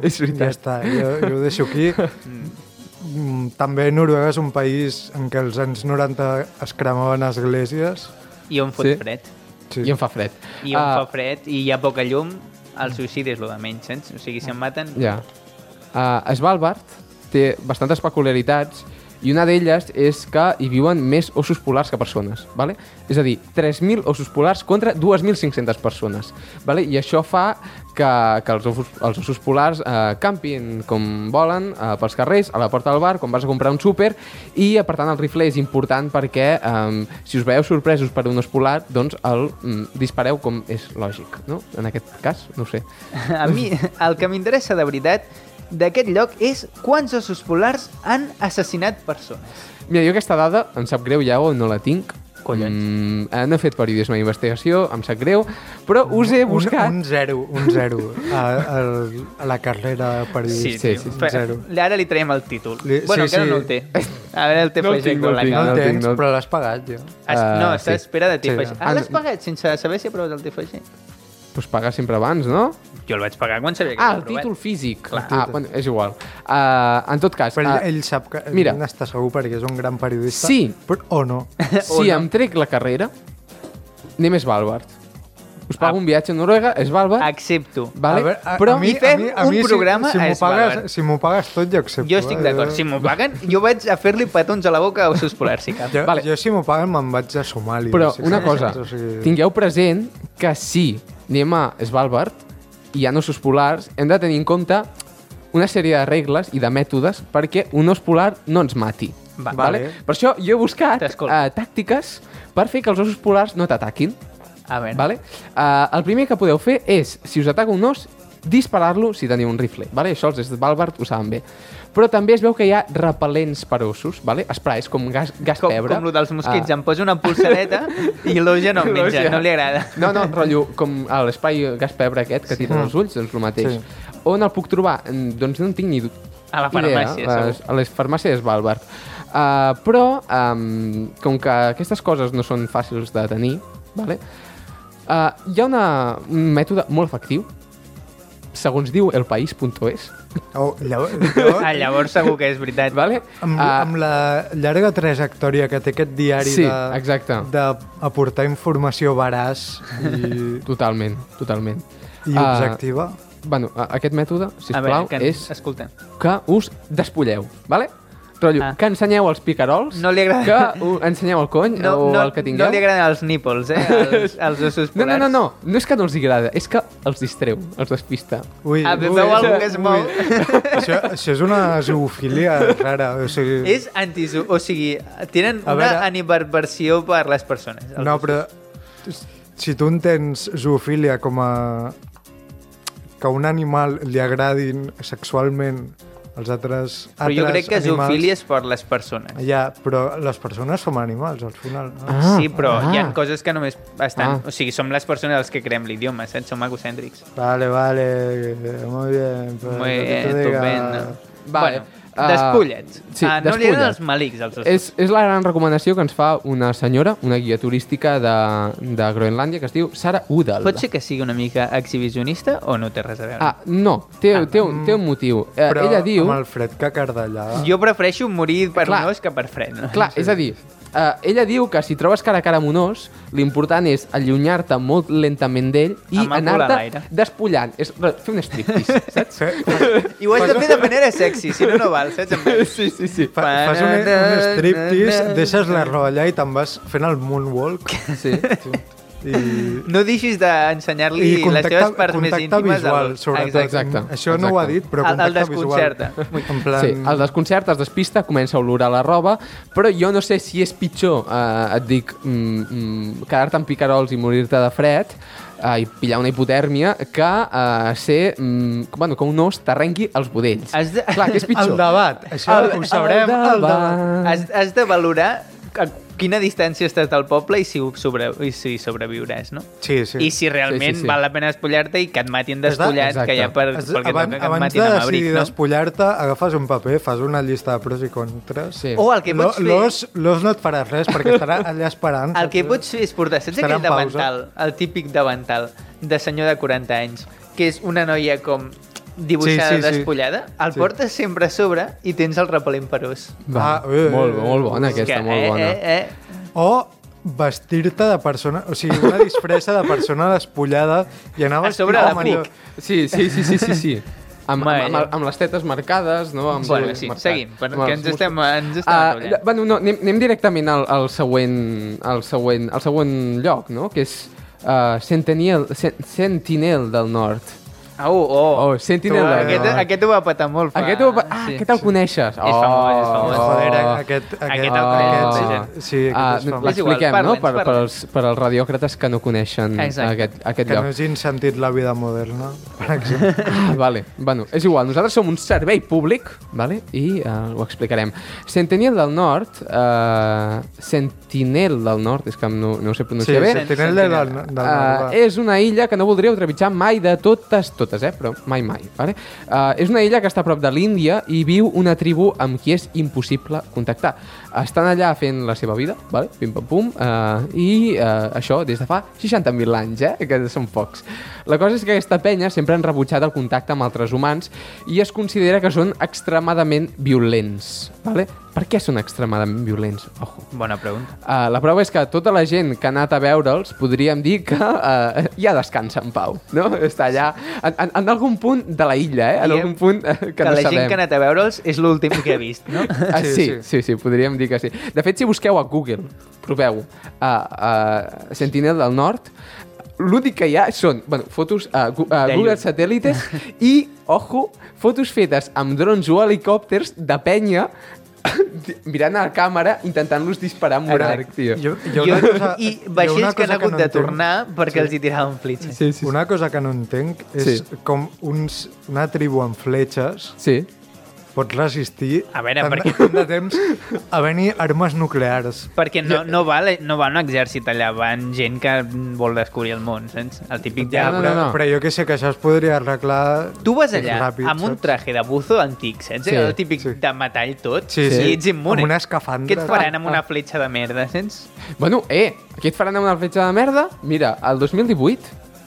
és
Ja
veritat.
està, jo, jo ho deixo aquí. Mm, També Noruega és un país en què els anys 90 es cremaven esglésies.
I on fot
Sí. Ah.
sí. fred.
Sí.
I em fa fred.
I on fa fred i hi ha poca llum, el suïcidi és el de menys, saps? O sigui, si em maten...
Ja. Uh, Svalbard té bastantes peculiaritats i una d'elles és que hi viuen més ossos polars que persones, vale? És a dir, 3.000 ossos polars contra 2.500 persones, vale? I això fa que, que els, ossos, els ossos polars eh, campin com volen eh, pels carrers, a la porta del bar, quan vas a comprar un súper, i eh, per tant el rifle és important perquè eh, si us veieu sorpresos per un os polar, doncs el mm, dispareu com és lògic, no? En aquest cas, no ho sé.
A mi, el que m'interessa de veritat d'aquest lloc és quants ossos polars han assassinat persones.
Mira, jo aquesta dada, em sap greu, ja o no la tinc.
Collons.
Mm, eh, no he fet periodisme d'investigació, em sap greu, però us he buscat...
Un, un zero, un zero a, a, a la carrera periodista.
Sí, sí,
un
Espera,
zero.
Ara li traiem el títol.
Li-
bueno,
sí,
encara
sí.
no el té. A veure el té
No el
Flashback
tinc, no el
de la
tinc.
No el
cara.
no
tens,
tinc, no-
però l'has pagat, jo.
Has,
Ah,
no, està
sí.
a espera de
Sí.
T-Flash.
Ah,
Ah, l'has
no.
pagat sense saber si aproves el T-Flash?
Pues pagar sempre abans, no?
Jo el vaig pagar quan sabia que
Ah,
l'he
el
aprovat.
títol físic.
Clar.
Ah, bueno, és igual. Uh, en tot cas...
Però ell,
ah,
ell sap que
mira.
mira, n'està segur perquè és un gran periodista.
Sí.
Però, o no.
o
si
no.
em trec la carrera, anem a Svalbard. Us pago
Ah.
un viatge a Noruega, a Svalbard...
Accepto.
Vale?
A veure, a,
però
a mi,
I fem
a mi, a
un
mi,
programa
si, si
a
m'ho
Svalbard.
pagues, si m'ho pagues tot, jo accepto.
Jo estic
eh?
d'acord.
Jo-
Si m'ho paguen, jo vaig a fer-li petons a la boca a ossos polars, si cap.
Jo,
Vale.
vale. jo si m'ho paguen me'n vaig a Somàlia.
Però
si
una
saps?
cosa,
O sigui,
tingueu present que si anem a Svalbard i hi ha ossos polars, hem de tenir en compte una sèrie de regles i de mètodes perquè un os polar no ens mati.
Va.
Vale.
Per això jo he buscat uh,
T'escolto.
tàctiques per fer que els ossos polars no t'ataquin.
A veure.
Vale? Uh, el primer que podeu fer és, si us ataca un os, disparar-lo si teniu un rifle. Vale? Això els de Svalbard ho saben bé. Però també es veu que hi ha repel·lents per ossos, vale? Spray, és com gas, gas
Com,
pebre.
com lo dels mosquits,
Ah.
em posa una pulsareta i l'Oja no em menja,
L'Oja.
no li agrada.
No, no, rotllo, com a l'espai gas pebre aquest que sí. tira els ulls, doncs el mateix.
Sí.
Sí. On el puc trobar? Mm, Doncs no en tinc ni du-
A la
idea,
farmàcia, segur.
les, a les farmàcies Svalbard. Uh, però, um, com que aquestes coses no són fàcils de tenir, vale? uh, hi ha una, un mètode molt efectiu, segons diu elpaís.es,
Oh, llavors, llavors,
Ah, llavors segur que és veritat.
vale?
amb,
Ah,
amb la llarga trajectòria que té aquest diari
Sí,
de,
exacte.
de aportar informació veraç i,
Totalment, totalment.
i
Ah,
objectiva...
bueno, a- aquest mètode,
a
sisplau,
veure, que,
és...
escolta.
que us despulleu, vale? Rotllo, ah.
Ah.
que ensenyeu els picarols,
No li agrada.
que u- ensenyeu el cony
No,
o
no,
el que tingueu.
no li agraden els nípols, eh? Els, els ossos
no,
polars.
no, no, no, no és que no els hi agrada, és que els distreu, els despista.
Ui,
Ah, veu algú que es mou.
Això, això és una zoofilia rara. O sigui,
És anti O sigui, tenen
A
una
veure.
veure... animadversió per les persones. els
No,
ossos.
però si tu entens zoofilia com a que a un animal li agradin sexualment els altres,
Però jo crec que
animals,
zoofilia és per les persones.
Ja, però les persones som animals, al final. No?
Ah,
sí, però
ah.
hi ha coses que només estan...
Ah. Eh,
O sigui, som les persones els que creem l'idioma, saps? Som egocèntrics.
Vale, vale, muy bien. pues,
Muy
lo que
bien,
te diga.
estupendo.
Vale,
Bueno,
ah,
despulla't.
sí,
ah, no li
despulla't.
agraden els malics, els ossos.
És, és la gran recomanació que ens fa una senyora, una guia turística de, de Groenlàndia, que es diu Sara Udall.
Pot ser que sigui una mica exhibicionista o no té res a veure?
Ah, no, té, té,
mm,
un, té un motiu. Eh,
Però
ella diu...
amb el fred que cardellà...
Jo prefereixo morir per
Clar.
un os que per fred. No?
Clar, és a dir, Eh, ella diu que si trobes cara a cara amb un os, l'important és allunyar-te molt lentament d'ell i
Amb el cul a
anar-te
l'aire.
despullant. És re- fer un striptease, saps?
I ho has de fer de manera sexy, si no, no val, saps? Amb ells.
sí, sí, sí.
Fa, fas un, un striptease, deixes la roba allà i te'n vas fent el moonwalk
sí.
i,
No deixis d'ensenyar-li
i
les
contacte,
teves parts més
contacte
íntimes.
visual,
al-
sobretot. Mm,
Exacte.
Exacte,
Això no ho ha
exacte.
dit, però
El- el
contacte visual.
desconcerta.
En plan...
Sí, el desconcert es despista, comença a olorar la roba, però jo no sé si és pitjor, eh, et dic, mm, mm, quedar-te amb picarols i morir-te de fred eh, i pillar una hipotèrmia que eh, ser, mm, bueno, que un os t'arrenqui els budells.
Has de-
Clar, que és pitjor.
El debat, això
El-
ho sabrem al debat.
Has, has de valorar a quina distància estàs del poble i si, ho sobre, i si sobreviuràs, no?
Sí, sí.
I si realment
Sí, sí, sí.
val la pena despullar-te i que et matin despullat,
Exacte.
que ja per,
Has-
pel que
aban-
toca que et
abans
matin
de
amb abric,
decidir
no?
despullar-te, agafes un paper, fas una llista de pros i contres.
Sí.
O el que
L'o-
pots fer-
L'os l'os no et farà res perquè estarà allà esperant.
El que pots fer és portar, saps
Estarà
aquell
en pausa.
davantal, el típic davantal de senyor de 40 anys, que és una noia com dibuixada,
Sí, sí, sí.
despullada, el
Sí.
portes sempre a sobre i tens el repel·lent perós.
Va,
Ah, eh,
molt,
eh,
molt bona
És
aquesta,
que,
molt
eh,
bona.
Eh, eh,
O vestir-te de persona... O sigui, una disfressa de persona despullada i anar
A sobre
vestit
la
allò-
pic.
Sí, sí, sí, sí, sí, sí. Amb,
Mare
amb, amb, amb les tetes marcades, no? Amb
Bueno,
el
sí,
marcat.
seguim, perquè
Amb els
ens estem-
músculs.
ens estem
Ah,
enrotllant.
bueno, no, anem, anem directament al, al, següent, al, següent, al següent lloc, no? Que és uh, Sentinel, Sen- Sentinel del Nord.
Au, oh,
Oh, Sentinel
Tu,
del
Aquest,
Nord.
aquest ho va patar molt. Fa...
Aquest ho... va- Ah,
sí.
aquest el coneixes. És
famós, és famós.
Oh, Joder, aquest- aquest-
Aquest el
aquest-
coneixen.
Sí, aquest és
Oh. ah,
famós.
És igual,
L'expliquem, no?
parla'ns,
Per, per,
parla'ns.
als, per als radiòcrates que no coneixen
Exacte.
aquest, aquest
Que
lloc.
no hagin sentit la vida moderna, per exemple.
Ah, vale. Bueno, és igual, nosaltres som un servei públic, vale? i uh, ho explicarem. Sentinel del Nord, uh, Sentinel del Nord, és que no, no ho sé
Sí,
pronunciar bé,
Sentinel del, del, del
Ah,
Uh, és una illa que no voldríeu trepitjar mai de totes, totes, eh? però mai, mai. Vale? Uh, és una illa que està a prop de l'Índia i viu una tribu amb qui és impossible contactar. Estan allà fent la seva vida, vale? pim pam pum, uh, i uh, això des de fa 60.000 anys, eh? que són pocs. La cosa és que aquesta penya sempre han rebutjat el contacte amb altres humans i es considera que són extremadament violents. Vale? Per què són extremadament violents? Ojo.
Bona pregunta.
Uh, la prova és que tota la gent que ha anat a veure'ls podríem dir que uh, ja descansa en pau, no? Està allà en, en, en algun punt de la illa, eh? En
Diem
algun punt eh, que,
Que,
no
la
sabem.
gent que ha anat a veure'ls és l'últim que ha vist, no?
Ah, sí,
Sí,
sí,
sí.
sí, sí, podríem dir que sí. De fet, si busqueu a Google, proveu, a uh, Sentinel del Nord, l'únic que hi ha són bueno, fotos a, Gu- a
De
Google
lluny.
Satèl·lites i, ojo, fotos fetes amb drons o helicòpters de penya mirant a la càmera, intentant-los disparar amb un
Exacte.
arc, tio.
eh, Jo,
Jo,
jo una cosa,
I
hi ha una
vaixells que han
cosa
hagut
no
de
entenc.
tornar perquè els hi tiraven flitxes.
Sí, sí, sí.
Una cosa que no entenc és
Sí.
com uns, una tribu amb fletxes
Sí.
pot resistir
A veure,
tant,
perquè-
tant de temps a venir armes nuclears.
Perquè no, no, va, la- no va un exèrcit allà, van gent que vol descobrir el món, saps? El típic ja...
Ja,
No,
no,
no.
però, però jo que sé que això es podria arreglar...
Tu vas allà
ràpid,
amb un
saps?
traje de buzo antic, saps?
Sí,
Sí, el típic
sí.
sí. de metall tot,
Sí,
sí,
sí.
sí. i ets immune.
Amb una escafandra.
Què et faran amb
Ah,
una
ah.
fletxa de merda, saps?
Bueno, eh, aquí et faran amb una fletxa de merda. Mira, el 2018,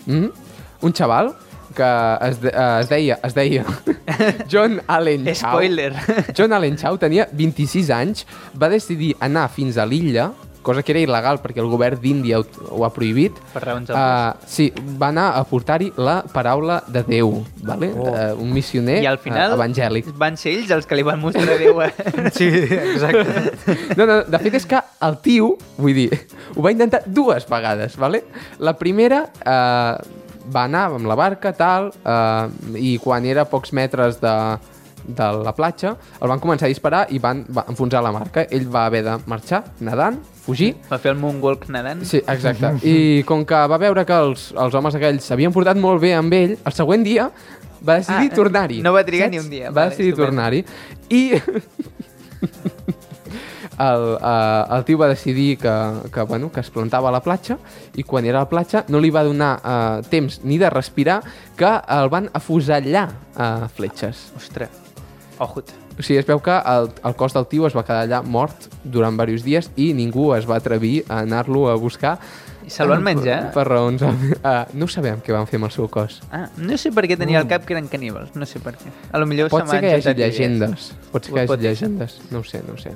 mm, un xaval que es, de, eh, es deia, es deia John Allen Chow.
Spoiler.
John Allen Chow tenia 26 anys, va decidir anar fins a l'illa, cosa que era il·legal perquè el govern d'Índia ho, ho ha prohibit.
Per raons
uh, Sí, va anar a portar-hi la paraula de Déu, vale?
Oh.
Oh. Uh, un missioner
I al final
eh, evangèlic.
van ser ells els que li van mostrar Déu. A...
Sí, exacte.
No, no, de fet és que el tio, vull dir, ho va intentar dues vegades, vale? La primera eh, va anar amb la barca, tal, eh, i quan era a pocs metres de, de la platja, el van començar a disparar i van, va enfonsar la marca. Ell va haver de marxar, nedant, fugir,
Va fer el moonwalk nedant.
Sí, exacte. I com que va veure que els, els homes aquells s'havien portat molt bé amb ell, el següent dia va decidir
Ah,
tornar-hi.
no va trigar ni un dia.
Va
Vale,
decidir
estupendo.
tornar-hi. I... El, eh, el tio va decidir que, que, bueno, que es plantava a la platja i quan era a la platja no li va donar eh, temps ni de respirar que el van afusellar eh, fletxes.
Ostres, ojut.
O sigui, es veu que el, el cos del tio es va quedar allà mort durant diversos dies i ningú es va atrevir a anar-lo a buscar.
I se'l van menjar?
Ah, Per raons... Uh, no sabem què van fer amb el seu cos.
Ah, no sé per què tenia al cap que eren caníbals, no sé per què. A lo millor
Mm. Pot
se
ser
m'han
que hi hagi
saltat idees.
llegendes. Pot ser que hi hagi
Pot ser.
llegendes. No ho sé, no ho sé.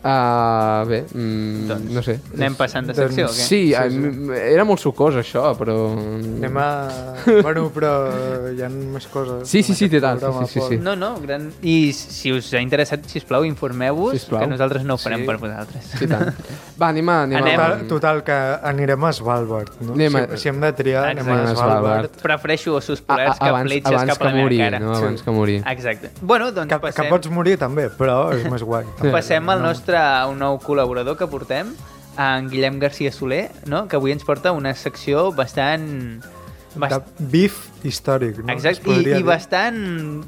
Uh, bé, mm,
Doncs,
no sé.
Anem passant de secció o què?
doncs, Sí, sí, sí, era molt sucós això, però...
Anem a... bueno, però hi ha més coses.
Sí, sí,
en
sí,
aquest
té tant, sí,
programa,
sí, sí,
Pol.
sí.
No, no, gran... I si us ha interessat, sisplau, informeu-vos,
Sisplau.
que nosaltres no ho farem
Sí.
sí. per vosaltres.
Sí, tant. Va, anem a... Anem,
Anem.
a...
Total, total, que anirem a Svalbard, no?
Anem a-
Si, si hem de triar, anem a
Exacte.
Svalbard.
Prefereixo ossos
A, a,
polars que
abans,
fletxes
abans
cap a
que
la meva
morir,
cara.
no?
Sí.
Abans que morir.
Exacte. Bueno, doncs
Que, que
passem,
pots morir també, però és més guai. també.
passem al nostre un nou col·laborador que portem, en Guillem García Soler, no? que avui ens porta una secció bastant...
De
Bast...
bif històric, no? Es
Exacte,
podria
i, i
dir.
bastant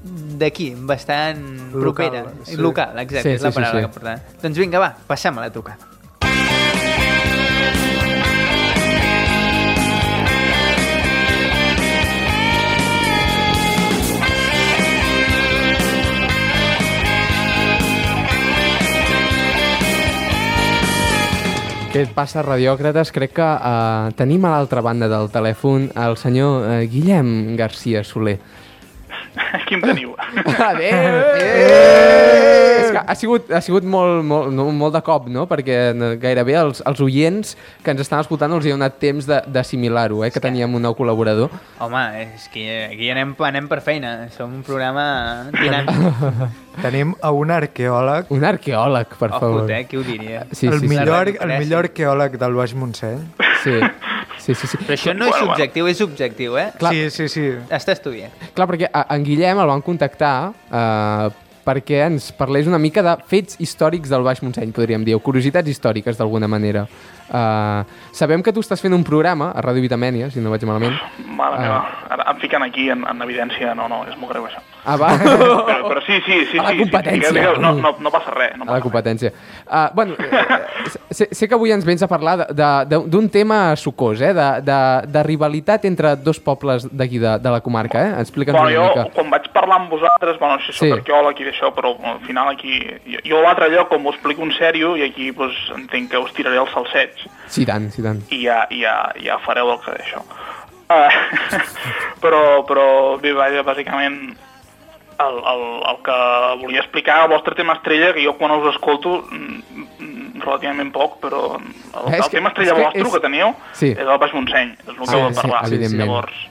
d'aquí, bastant
Local,
propera,
sí.
local, exacte,
Sí,
és la
sí, sí,
paraula
sí.
que porta. Doncs vinga, va, passem a la tocar.
Què et passa, radiòcrates? Crec que uh, tenim a l'altra banda del telèfon el senyor uh, Guillem García Soler.
Aquí em teniu.
Adéu! És que ha sigut, ha sigut molt, molt, no, molt de cop, no? Perquè eh, gairebé els, els oients que ens estan escoltant els hi ha donat temps de- d'assimilar-ho, eh? que teníem un nou col·laborador.
Home, és que aquí anem, anem per feina, som un programa dinàmic.
Tenim a un arqueòleg,
Un arqueòleg, per favor.
Ojo, eh, qui ho diria?
Sí,
el,
sí, sí.
millor, el
La ràdio
millor arqueòleg del Baix Montseny.
Sí, sí, sí. sí.
Però això no és subjectiu, és objectiu, eh?
Clar.
Sí, sí, sí.
Està estudiat.
Clar, perquè a- en Guillem el van contactar eh, perquè ens parlés una mica de fets històrics del Baix Montseny, podríem dir, o curiositats històriques, d'alguna manera. Eh, sabem que tu estàs fent un programa a Ràdio Vitamènia, si no vaig malament. Ah.
Mare meva, ara em fiquen aquí en, en evidència, no, no, és molt greu això.
Ah, va.
Però, però sí, sí, sí,
A la
sí, sí,
competència.
sí, sí, no, no, no passa res.
A la
No passa res.
competència. Uh, bueno, eh, sé, sé que avui ens vens a parlar de- de- de- d'un tema sucós, eh? de, de, de rivalitat entre dos pobles d'aquí de, de la comarca. Eh? Explica'ns una
Bueno, jo,
mica.
quan vaig parlar amb vosaltres, bueno, si soc
Sí.
sí. arqueòleg i d'això, però bueno, al final aquí... Jo, jo a l'altre lloc, com ho explico en sèrio, i aquí pues, entenc que us tiraré els salsets.
Sí, tant, sí, tant.
i ja, ja, ja fareu el que d'això. Uh, però, però bé, vaja, bàsicament el, el, el que volia explicar, el vostre tema estrella, que jo quan us escolto mm, mm, relativament poc, però el,
Eh, és
el
que-
tema
és
estrella
que
vostre
és-
que teniu
sí.
és el Baix Montseny, és el que
Sí,
heu de
sí,
parlar.
evidentment.
Llavors,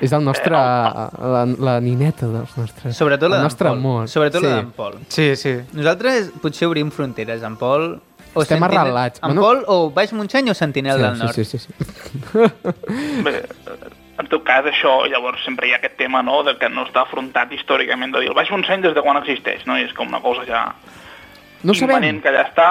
És el nostre...
Eh,
la, la nineta dels nostres...
Sobretot la
el
d'en
nostre
Pol.
amor.
Sobretot
sí.
la d'en Pol.
Sí, sí.
Nosaltres potser obrim fronteres, en Pol... O
Estem
Sentinel-
arrelats.
En
Bueno-
Pol o Baix Montseny o Sentinel del Nord.
Sí, sí, sí, sí.
bé, eh, en tot cas, això, llavors sempre hi ha aquest tema, no?, de que no està afrontat històricament, de dir, el Baix Montseny des de quan existeix, no?, I és com una cosa ja...
No ho sabem.
immanent que allà està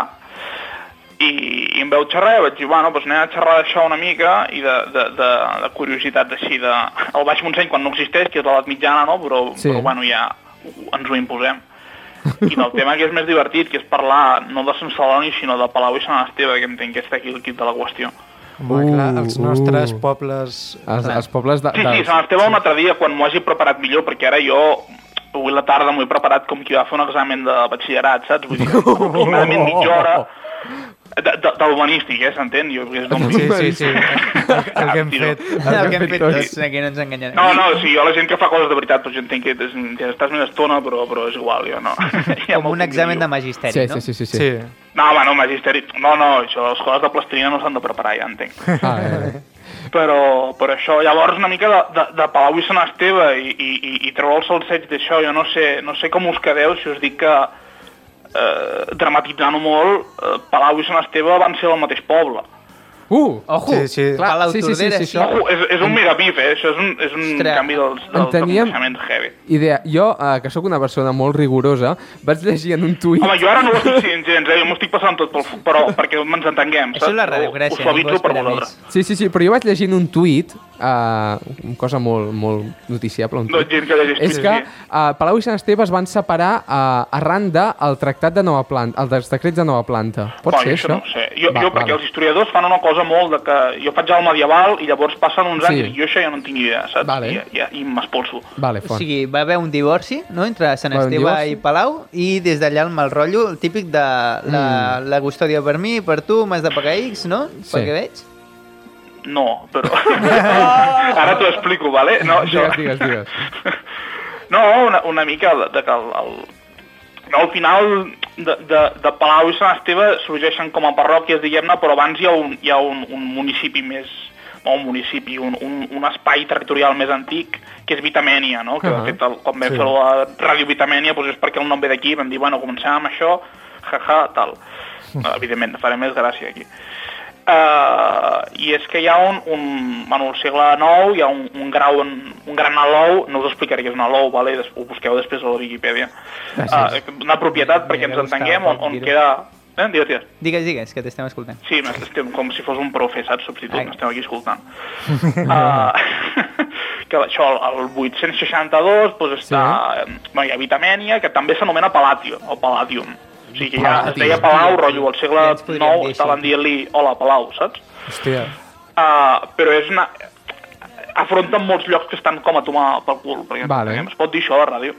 i, i em veu xerrar i vaig dir, bueno, doncs anem a xerrar d'això una mica i de, de, de, de curiositat així de... El Baix Montseny quan no existeix, que és l'edat mitjana, no? Però,
Sí.
sí. però bueno, ja ho- ens ho imposem. I del tema que és més divertit, que és parlar no de Sant Celoni, sinó de Palau i Sant Esteve, que entenc que està aquí el kit de la qüestió.
Home,
Uh,
clar, els nostres
uh.
pobles...
Els, els pobles de...
Sí,
dels-
sí, Sant Esteve un altre dia, quan m'ho hagi preparat millor, perquè ara jo avui a la tarda m'ho he preparat com qui va fer un examen de batxillerat, saps? Vull dir, aproximadament mitja hora de, de, de l'urbanístic, eh, s'entén? Jo, és com...
Sí, sí, sí. El, el que hem
Ah,
fet...
tio.
El que hem fet
tots.
tots, aquí no ens enganyarem.
No, no, sí, jo la gent que fa coses de veritat, doncs jo entenc que t'es- que estàs més estona, però, però és igual, jo no. Ja
Com
m'ho
un examen de
convido.
magisteri,
Sí,
no?
sí, sí, sí, sí.
Sí.
No, home, no, magisteri... No, no, això, les coses de plastilina no s'han de preparar, ja entenc.
Ah, eh,
Però, però això, llavors una mica de, de, de Palau i Sant Esteve i, i, i, i treure els salseig d'això, jo no sé, no sé com us quedeu si us dic que, eh, dramatitzant-ho molt, eh, Palau i Sant Esteve van ser el mateix poble.
eh. Uh!
Ojo,
Sí, sí.
Clar,
Palau
sí, sí, sí,
Tordera,
sí,
sí.
això.
Ojo, és, és un megapif, eh? Això és un, és un
Ostres,
canvi dels, del, del
enteníem-
coneixement heavy.
Idea, jo, eh, que sóc una persona molt rigorosa, vaig llegir en un tuit...
Home, jo ara no ho estic sent gens, eh? Jo m'ho estic passant tot pel... fu- Però perquè ens entenguem,
Això és la ràdio, gràcies.
Ho suavitzo per vosaltres.
Sí, sí, sí, però jo vaig llegir en un tuit, eh, una cosa molt, molt noticiable, un
No,
tuit,
gent que llegeix
és que eh, Palau i Sant Esteve es van separar eh, arran del tractat de nova planta, el dels decrets de nova planta. Pot
Coi,
ser, això?
No ho sé. Jo,
Va,
jo perquè
val.
els historiadors fan una cosa molt de que jo faig el medieval i llavors passen uns
Sí.
anys i dic, jo això ja no en tinc idea, saps?
Vale.
I, ja, i m'espolso.
Vale,
O
font.
sigui, va haver un divorci no? entre Sant
Va haver un
Esteve
divorci.
i Palau i des d'allà el mal rotllo, el típic de la, la custòdia per mi, per tu, m'has de pagar X, no?
Mm. Sí.
Pel que veig.
No, però... Ara t'ho explico, vale? No, això...
Digues, digues, digues.
No, una, una mica de, de que el, el... No, al final de, de, de Palau i Sant Esteve sorgeixen com a parròquies, diguem-ne, però abans hi ha un, hi ha un, un municipi més no un municipi, un, un, un espai territorial més antic, que és Vitamènia, no? que de
Ah.
fet el, quan vam
Sí.
sí. fer la ràdio Vitamènia doncs és perquè el nom ve d'aquí, vam dir, bueno, començàvem amb això, jaja, tal. Eh, Evidentment, farem més gràcia aquí. Uh, I és que hi ha un, un bueno, al segle IX hi ha un, un grau, en, un gran alou, no us explicaré què és un alou, vale? Des, ho busqueu després a la Viquipèdia.
Gràcies.
Uh, una propietat, perquè
Mira,
ens
buscava
entenguem, on,
poc
on
dir-ho.
queda... Eh? Digues, digues.
Digues, digues, que t'estem escoltant.
Sí, m'est- estem com si fos un profe, saps? Substitut,
Ai.
m'esteu aquí escoltant. uh, que això, el, el 862, doncs està... Sí. Bueno, hi ha Vitamènia, que també s'anomena Palatio, o Palatium. O sigui, que ja es
Palatium.
deia Palau, rotllo, al segle
Ja ens podríem
IX
dir
estaven
així.
dient-li hola, Palau, saps?
Hòstia,
Uh, però és una... Afronten molts llocs que estan com a tomar pel cul, perquè
Vale.
vale. es pot dir això a la ràdio.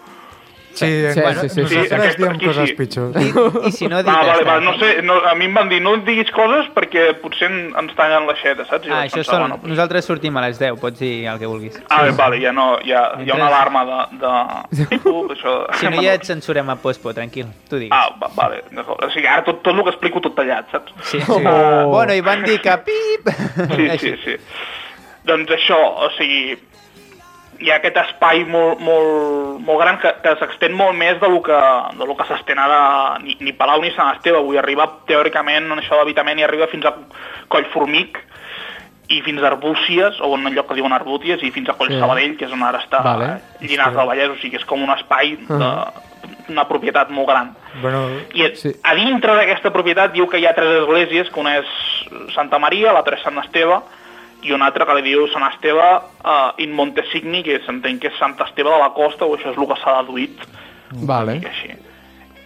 sí,
sí,
sí, bueno,
sí, sí, sí.
nosaltres
Aquesta-
diem
aquí
coses
sí.
pitjors.
I, i si no,
Ah,
digues.
vale, vale, no sé, no, a mi em van dir no diguis coses perquè potser ens tallen l'aixeta, saps? I
Ah,
vaig
això
pensar,
són...
bueno,
Nosaltres sortim a les 10, pots dir el que vulguis.
Ah, bé, vale, ja no, ja, hi ha una alarma de... de... Uf, això...
Si no, ja et censurem a Postpo, tranquil, tu digues.
Ah, va, vale, d'acord. O sigui, ara tot, tot el que explico tot tallat, saps?
Sí, sí. Oh. Bueno, i van dir que pip!
Sí, sí, sí. Doncs això, o sigui, hi ha aquest espai molt, molt, molt gran que, que s'extén molt més del que, del que s'estén ara ni, ni Palau ni Sant Esteve. Avui arriba, teòricament, en això d'habitament, hi arriba fins a Collformic i fins a Arbúcies, o en un lloc que diuen Arbúcies, i fins a Coll
Sí.
Sabadell, que és on ara està
Vale. Ah.
Llinars del Vallès, o sigui que és com un espai de, una propietat molt gran.
Bueno,
I a-
Ah, Sí.
a dintre d'aquesta propietat diu que hi ha tres esglésies, que una és eh, Santa Maria, l'altra és Sant Esteve, i una altra que li diu Sant Esteve uh, in Montesigni, que s'entén que és Sant Esteve de la Costa, o això és el que s'ha deduït,
Vale,
i així.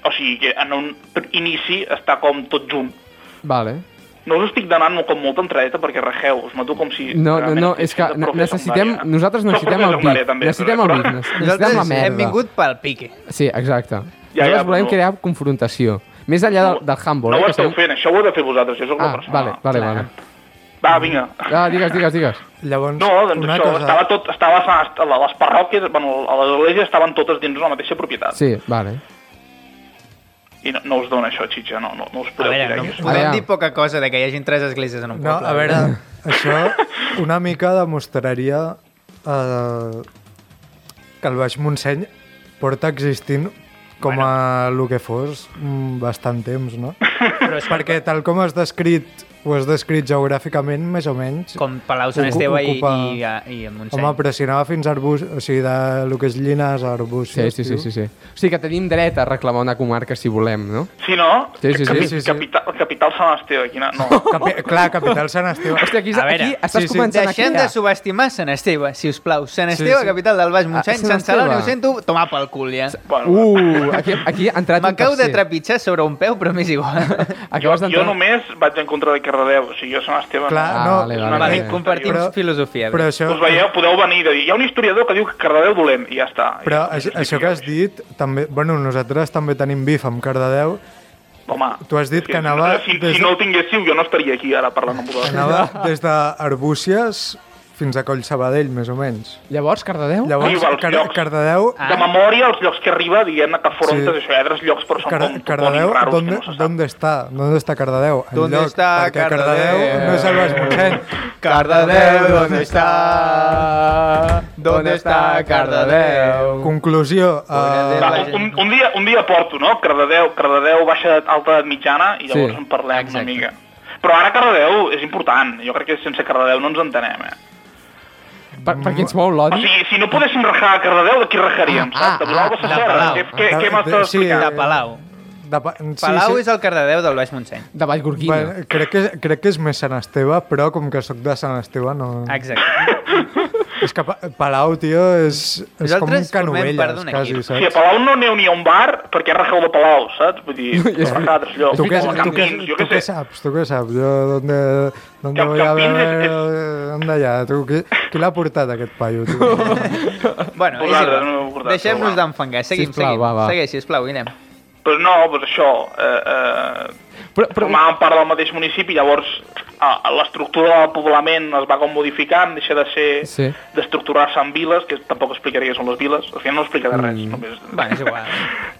O sigui, que en un pr- inici està com tot junt.
vale.
No us estic donant com molta entradeta perquè rejeu, us mato com si...
No, no,
realment
no,
féssim
és que
de
ne-
profe
necessitem...
secundària.
Nosaltres
Soc
necessitem
profe
el
secundària,
pic.
també,
Necessitem el
però-
pic. ne- Necessitem la
Nosaltres
merda.
hem vingut pel pique.
Sí, exacte.
Ja, ja,
Nosaltres volem
però-
crear confrontació. Més enllà del, del handball, eh?
No ho
que
esteu
sabem-
fent, això ho heu de fer vosaltres, jo sóc la
Ah,
persona.
vale, vale, vale.
Va, vinga.
Ah, digues, digues, digues.
llavors,
No, doncs
una
això,
cosa...
estava tot, estava a- a les parròquies, bueno, a les esglésies estaven totes dins la mateixa propietat.
Sí, vale.
I no, no us dona això, Xitxa, no, no, no us
A
podeu
veure,
tirar
no
aquí.
A veure.
podem dir poca cosa de que hi hagin tres esglésies en un
No,
poble.
a veure, això una mica demostraria eh, que el Baix Montseny porta existint com a el que fos mm, bastant temps, no?
Però és
Perquè tal com has descrit, ho has descrit geogràficament, més o menys,
Com Palau, Sant
Ocu-
Esteve i,
ocupa-
i, eh, i, i Montseny.
home, però si anava fins a arbust, o sigui, de lo que és llines a arbust.
Sí, sí, sí, sí, sí. O sigui que tenim dret a reclamar una comarca si volem, no?
Sí, no?
Sí, sí, sí,
Capi-
sí, sí.
Capital, capital Sant Esteve, quina... No.
Capi clar, capital Sant Esteve.
Hòstia, aquí,
A veure,
aquí estàs
sí, sí.
començant a
Deixem
crear.
de subestimar eh, Sant Esteve, si us plau. Sant
Sí,
Esteve,
sí.
capital del Baix
Ah,
Montseny,
Sant
Sant Celoni,
Esteve.
ho sento, tomar pel cul, ja.
Bueno,
Uh, aquí, aquí ha entrat un
M'acabo de
tercer.
trepitjar sobre un peu, però m'és igual.
Acabes
jo
d'entrar...
només vaig en contra de Cardedeu, o sigui, jo Sant Esteve...
Clar,
Ah,
no,
vale,
Una
vale,
mica.
compartim
Però-
filosofia.
però
Però...
això...
Us veieu, podeu venir de dir, hi ha un historiador que diu que Cardedeu dolent, i ja està.
Però
I-
això,
i-
això que has dit, també, bueno, nosaltres també tenim bif amb Cardedeu,
Home,
tu has dit
és
que anava
Si,
des
si
de-
no ho tinguéssiu, jo no estaria aquí ara parlant amb vosaltres.
anava des d'Arbúcies fins a Coll Sabadell, més o menys.
Llavors, Cardedeu?
Llavors,
Arriba als
Car
llocs.
Cardedeu,
De memòria, els llocs que arriba, diguem-ne que afrontes,
Sí.
sí. això hi ha altres llocs, però són
Car
com
Cardedeu,
topònims raros
d'on
que no se sap.
d'on està? D'on està Cardedeu?
D'on
Enlloc,
està
perquè Cardedeu
Cardedeu?
no és el Baix Montseny.
Cardedeu, d'on està? D'on està Cardedeu?
Conclusió,
Cardedeu.
uh,
Va, un, un, un, dia, un dia porto, no? Cardedeu, Cardedeu baixa alta edat mitjana i llavors
Sí,
sí, en parlem
exacte.
una mica. Però ara Cardedeu és important. Jo crec que sense Cardedeu no ens entenem, eh?
Per, perquè ens mou
O
l'odi?
sigui, si no poguéssim rajar a Cardedeu, de qui rajaríem?
Ah,
saps?
ah,
De Palau
ah,
ah,
de
Serra.
Palau.
Què, què,
Ah,
què
de-
m'estàs
sí.
explicant?
De Palau.
de, pa- sí,
Palau
sí.
és el Cardedeu del Baix Montseny.
De Vallgorguina.
Bueno, crec, que, crec que és més Sant Esteve, però com que sóc de Sant Esteve no...
Exacte.
És que Pa- Palau, tio, és, és com un
Nosaltres formem part
canovelles,
d'un
quasi,
equip.
Si a
saps?
Palau no aneu ni a un bar, perquè rajeu de Palau, saps? Vull dir, rajeu a altres llocs.
Tu què,
veritat,
Com a
tu, què,
Campins, jo
tu
què
què
sé.
saps? Tu què saps? Jo, d'on d'on
Camp-
voy a
Campins és-
veure... D'on d'allà? Tu, qui, qui l'ha portat, aquest paio? Tu?
Bueno, és
Vosaltres,
igual.
no m'heu portat,
Deixem-nos
però va.
d'enfangar. Seguim,
Sisplau,
seguim.
va, va.
Segueix, sisplau, Guillem.
Però no, doncs això... Eh, eh,
Però, però,
formaven part del mateix municipi, llavors a- a l'estructura del poblament es va com modificant, deixa de ser
Sí.
d'estructurar-se en viles, que tampoc explicaré què són les viles, al final no explicaré res, mm. només...
Va, és igual.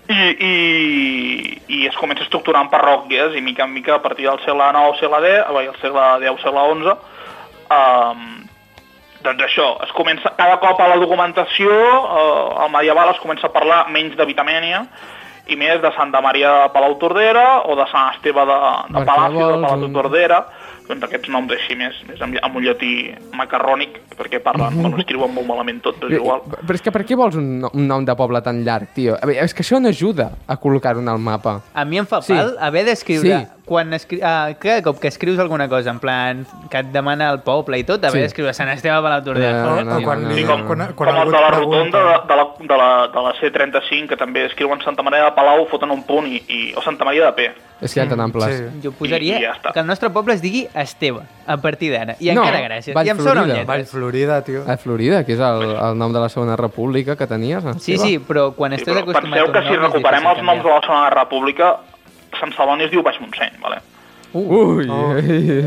I, i, I es comença a estructurar en parròquies, i mica en mica, a partir del segle IX, segle X, ah, bé, el segle X, segle XI, um, doncs això, es comença, cada cop a la documentació, eh, el medieval es comença a parlar menys de Vitamènia, i més de Santa Maria de Palau Tordera o de Sant Esteve de, de
Barcarols,
Palacio de Palau
o-
Tordera, doncs aquests noms així més, més amb, amb un llatí macarrònic, perquè parlen, bueno, escriuen molt malament tot, però és igual.
eh, però és que per què vols un, no- un nom de poble tan llarg, tio? A veure, és que això no ajuda a col·locar-ho en el mapa.
A mi em fa
Sí.
sí. pal haver d'escriure...
Sí.
Sí. Quan escri... ah, cada cop que escrius alguna cosa, en plan, que et demana el poble i tot, haver
Sí.
sí. d'escriure Sant Esteve de Palautordera.
No,
No,
O,
no,
o quan,
no,
li,
no,
com,
no.
quan, quan
com el
algú
de
et
la
pregunta...
rotonda de, de, la, de, la, de la C35, que també escriuen Santa Maria de Palau, foten un punt, i, i, o Santa Maria de P.
És que ja tan amples.
Mm, Sí.
Jo posaria
I- i ja està.
que el nostre poble es digui Esteve, a partir d'ara. I
No,
encara gràcies. I em
Vallflorida.
sona lletres.
Vall Florida, tio.
A Florida, que és el, el nom de la segona república que tenies. no?
Sí, sí, però quan
Sí,
estàs
però
acostumat a
penseu
un
que si
nom, és
recuperem
difícil
els noms de
canviar.
la segona república, Sant Celoni es diu Baix Montseny, vale?
Ui!
Oh.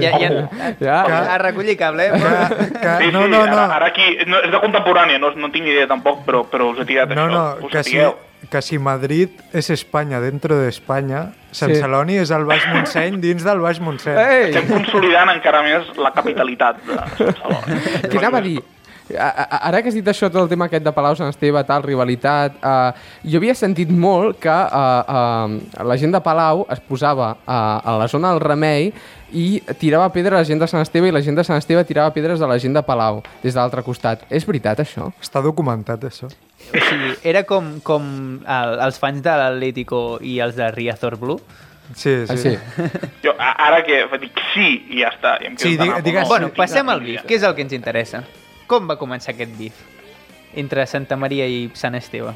Ja, ja,
Ja.
ja. A recollir cable, eh?
Que,
Sí,
que, no,
sí,
no, no.
Ara, ara aquí, no, és de contemporània, no, no tinc ni idea tampoc, però, però us he tirat
No,
això.
no,
us
que
ho
si,
digueu.
que si Madrid és Espanya dentro d'Espanya, Sant
Sí.
sí. Celoni és el Baix Montseny dins del Baix Montseny.
Ei!
Estem consolidant encara més la capitalitat de Barcelona.
Què anava a dir? A- a- Ara que has dit això, tot el tema aquest de Palau Sant Esteve, tal, rivalitat... Eh, jo havia sentit molt que eh, eh, la gent de Palau es posava eh, a la zona del Remei i tirava pedra a la gent de Sant Esteve i la gent de Sant Esteve tirava pedres a la gent de Palau, des de l'altre costat. És veritat, això?
Està documentat, això.
O sigui, era com, com el, els fans de l'Atlético i els de Riazor Blue.
Sí, sí.
Ah, sí.
Jo, a- ara que dic sí i ja està. I em quedo
Sí,
tan
digue-
a favor.
digues-
Bueno, passem al bif, que és el que ens interessa. Com va començar aquest bif? Entre Santa Maria i Sant Esteve.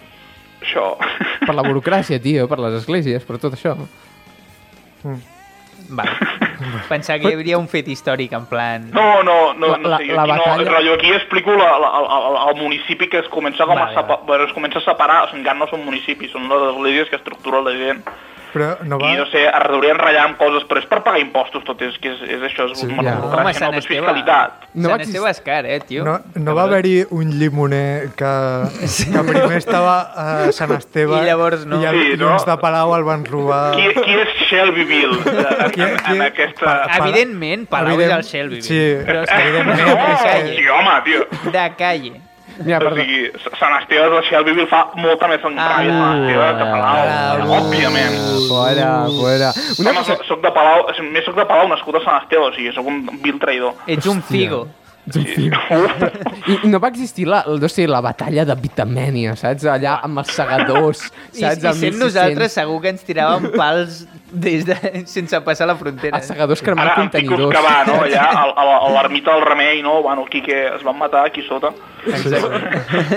Això.
Per la burocràcia, tio, per les esglésies, per tot això.
Mm.
Va. Pensar que hi hauria un fet històric, en plan...
No, no, no, no
La-
sé, jo
la
aquí
batalla-
no, rotllo, aquí explico la, la, el, el municipi que es comença com
Vale,
a sepa, bueno, es comença a separar, o sigui, encara no són municipis, són les esglésies que estructura la gent.
Però no va...
I no sé, es deurien ratllar amb coses, però és per pagar impostos tot, és que és, és això, és sí,
ja.
una
Home,
burocràcia,
Sant
no, és
Esteve...
fiscalitat.
No va
Sant
exist-
Esteve és car, eh, tio?
No, no va haver-hi un llimoner que, que primer estava a Sant Esteve
I llavors no.
i, el,
Sí,
i
no?
uns de Palau el van robar...
Qui, qui és Shelbyville en,
Qui-
en,
qui-
en aquesta...
pa-
Evidentment, Palau
Evident-
és el Shelby.
Sí,
Però és que
evidentment.
no,
és que-
calle.
sí, home, tio.
De calle.
Mira,
O
perdó.
sigui, Sant Esteve de Shelbyville fa molta més enràbia que Sant Esteve de
Ah,
Palau, eh, òbviament.
Fora, fora.
Una
Una
Home,
cosa...
soc, soc de Palau, més soc de Palau nascut a Sant Esteve, o sigui, soc un vil traïdor.
Ets un figo.
I i no va existir la, no sé, la batalla de Vitamènia, saps? Allà amb els segadors,
I,
saps?
i
El
sent
1600.
nosaltres segur que ens tiraven pals des de, sense passar la frontera.
Els segadors cremant
Ara, en Picos
contenidors.
que va, no?, allà a- a la- a l'ermita del Remei, no?, bueno, aquí que es van matar, aquí sota.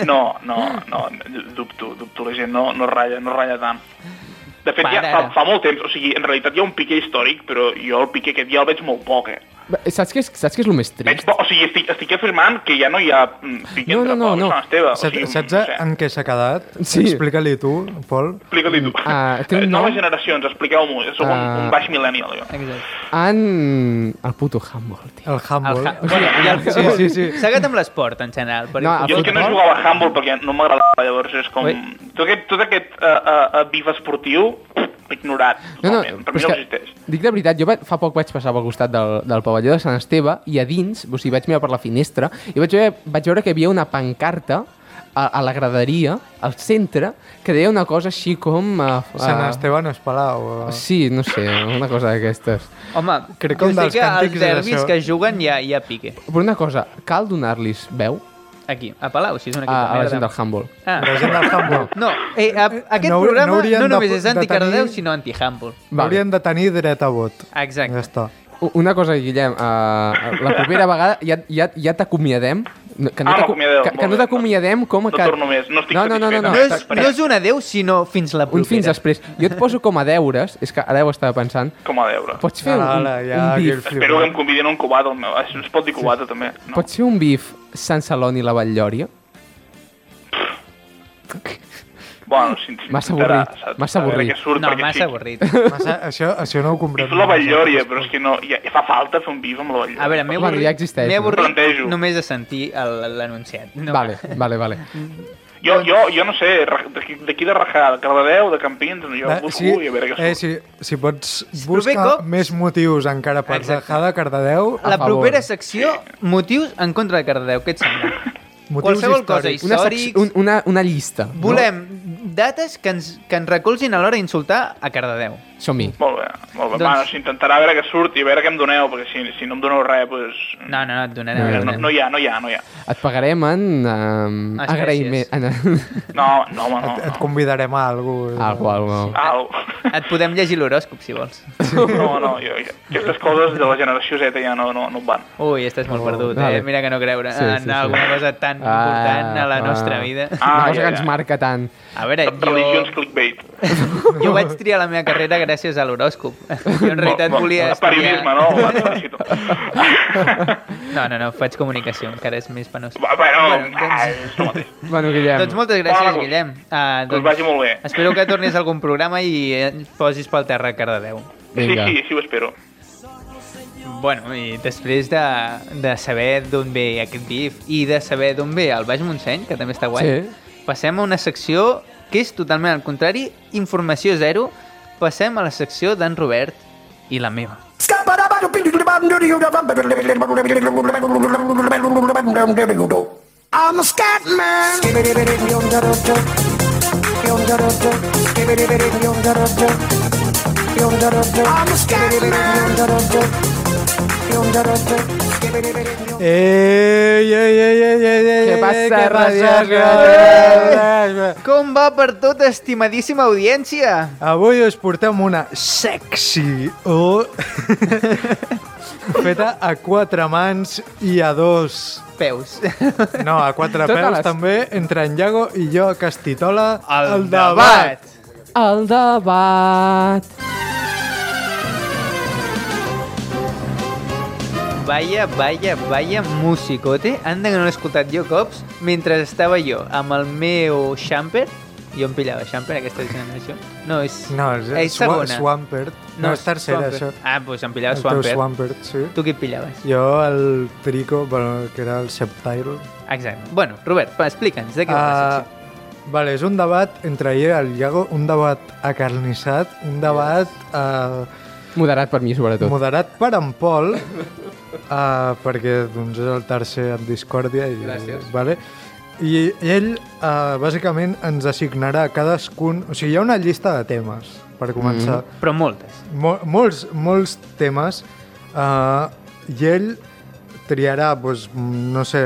No, no, no, dubto, dubto, la gent no, no ratlla, no ratlla tant. De fet, ja
Para,
fa,
ara.
fa molt temps, o sigui, en realitat hi ha un pique històric, però jo el pique aquest ja el veig molt poc, eh?
Saps què és, saps què és el més
Veig
trist?
poc, o sigui, estic, estic afirmant que ja no hi ha mm, pique
No,
entre
no, no, no.
Pau i Sant Esteve. o sigui,
Saps, saps
no sé.
en què s'ha quedat?
Sí.
Explica-li tu, Pol.
Explica-li tu.
Ah, té un
Eh,
nom?
Noves generacions, expliqueu-m'ho. Soc un,
Ah.
un baix millennial, jo.
Exacte.
En... El puto Humboldt, tio.
El
El
Humble.
ha- bueno, i el
Sí,
futbol.
sí, sí.
S'ha quedat amb l'esport, en general. Per
No,
Jo és que no
futbol?
jugava a handball perquè no m'agradava, llavors és com...
Ui.
Tot aquest, tot aquest uh, uh, bif esportiu, ignorat,
No, no,
totalment. per
però
mi
és
no
que,
existeix.
dic de veritat, jo va, fa poc vaig passar pel costat del, del pavelló de Sant Esteve i a dins, o sigui, vaig mirar per la finestra i vaig veure, vaig veure que hi havia una pancarta a, a la graderia, al centre, que deia una cosa així com... Uh,
Sant Esteban es Palau. eh?
Sí, no sé, una cosa d'aquestes.
Home,
Crec que un
jo sé
dels
que els
càntics és
derbis
això.
que es juguen ja, ja pique.
Però una cosa, cal donar-los veu
Aquí, a Palau, si és una
a,
equip
Ah, a la
de
gent del
merda.
Humboldt.
La
Ah,
gent del Humble.
no, eh, a, aquest
No hau- no
programa no,
haurien de-
només és
de
anti-Cardeu,
tenir-
sinó anti-Humble.
Vale.
Vale.
Haurien de tenir dret a vot.
Exacte.
Ja està.
U- Una cosa, Guillem, uh, la propera vegada ja, ja, ja t'acomiadem. No- Que
Ah,
t'aco-
m'acomiadeu,
que, que no
molt bé.
t'acomiadem com a...
No
que...
torno més, no estic
no, no, no, no,
satisfet
no.
No és,
Espera.
no és un adeu, sinó fins la
Un
propera.
fins després. Jo et poso com a deures, és que ara ho estava pensant,
Com a deure.
pots fer un,
Ala,
un
ja, aquí el
bif,
flip.
Espero que em convidin a un cubata. al meu- Es pot dir cubata, també. No.
pots fer un bif Sant Celoni i la Batllòria?
Bueno, si ens
Massa
intentarà,
avorrit,
saps?
massa
A veure
avorrit.
què surt,
No,
perquè
massa
sí.
avorrit.
Massa, això, això no ho
He
comprem.
fet la Batllòria, però és que no... Ja, ja fa falta fer un viva amb la Batllòria.
A veure, m'he
Bueno,
avorrit,
ja existeix,
m'he
no?
avorrit
Plantejo.
només de sentir el- l'anunciat. No.
Vale, vale, vale.
Jo, jo, jo no sé, ra- d'aquí d'aquí de Rajar, de Cardedeu, de Campins, no, jo
Va,
ho busco
sí,
i a veure què surt.
eh, si, si pots
proper
buscar
cop-
més motius encara per
Exacte.
Exacte. de Cardedeu,
A
La
favor.
propera secció, motius en contra de Cardedeu, què et sembla?
Motius
Qualsevol cosa
històrics.
Una, sec-
històrics,
un, una, una llista. no?
volem dates que ens, que ens recolzin a l'hora d'insultar a Cardedeu.
Som-hi.
Molt bé, molt bé.
Doncs-
Doncs... Bueno, s'intentarà a veure què surt i a veure què em doneu, perquè si, si no em doneu res, doncs...
No, no, no, et donarem.
No,
et
No,
donarem.
no hi ha, no hi ha, no hi ha.
Et pagarem en... Um,
Espècies.
agraïment. En,
No, no, home, no.
et, et
no.
convidarem a algú.
Ah,
algo, algo.
Au.
Et podem llegir l'horòscop, si vols.
No, no, jo, jo, aquestes coses de la generació Z ja no, no, no em van.
Ui, estàs molt perdut,
Oh, vale.
eh? Mira que no creure
Sí,
en
sí, sí.
alguna cosa tan
Ah,
important a la
ah.
nostra vida.
Una
Ah,
cosa
ja,
que ens
ja.
marca tant.
A veure,
Religions
Eh, jo,
clickbait.
jo vaig triar la meva carrera gràcies a l'horòscop. Jo en realitat
Molt- molt-
volia
Periodisme, no? Va, felicito.
No, no, no, faig comunicació, encara és més penós.
Va, Bueno,
Bueno, doncs-
ah, és el mateix.
Bueno, Guillem,
Doncs moltes gràcies,
Hola,
Guillem. Ah,
Que us vagi molt bé.
Espero que tornis a algun programa i ens posis pel terra a Cardedeu.
Sí,
vinga.
sí, sí, ho espero.
Bueno, i després de, de saber d'on ve aquest bif i de saber d'on ve el Baix Montseny, que també està guai,
Sí.
passem a una secció que és totalment al contrari, informació zero, passem a la secció d'en Robert i la meva.
I'm a scat man. I'm a scat man.
Ei, ei, ei, ei, ei, ei,
Què
ei,
passa,
què
Ràdio
Esglaó?
Com va per tot, estimadíssima audiència?
Avui us portem una sexy o feta a quatre mans i a dos.
Peus.
No, a quatre
Totes
peus
les-
també, entre en Iago i jo, que es titola
El debat.
Vaya, vaya, vaya musicote. Anda que no l'he escoltat jo cops mentre estava jo amb el meu Champer. Jo em pillava Champer, aquesta generació. No, és,
No, és, eh,
és
Swa-
segona.
Swampert. No, és tercera,
Swampert.
això.
Ah, doncs em pillava
El teu
Swampert.
Swampert, sí.
Tu qui et pillaves?
Jo, el Trico, bueno, que era el Septile.
Exacte. Bueno, Robert, va, explica'ns de què va la
Ah,
secció.
vale, és un debat entre ell i el Iago, un debat acarnissat, un debat eh,
Moderat per mi, sobretot.
moderat per en Pol, eh, perquè doncs, és el tercer en discòrdia. I,
Gràcies.
Vale? I ell, eh, bàsicament, ens assignarà a cadascun... O sigui, hi ha una llista de temes, per començar. Mm
Però moltes.
Mol, molts, molts temes eh, i ell triarà, doncs, no sé,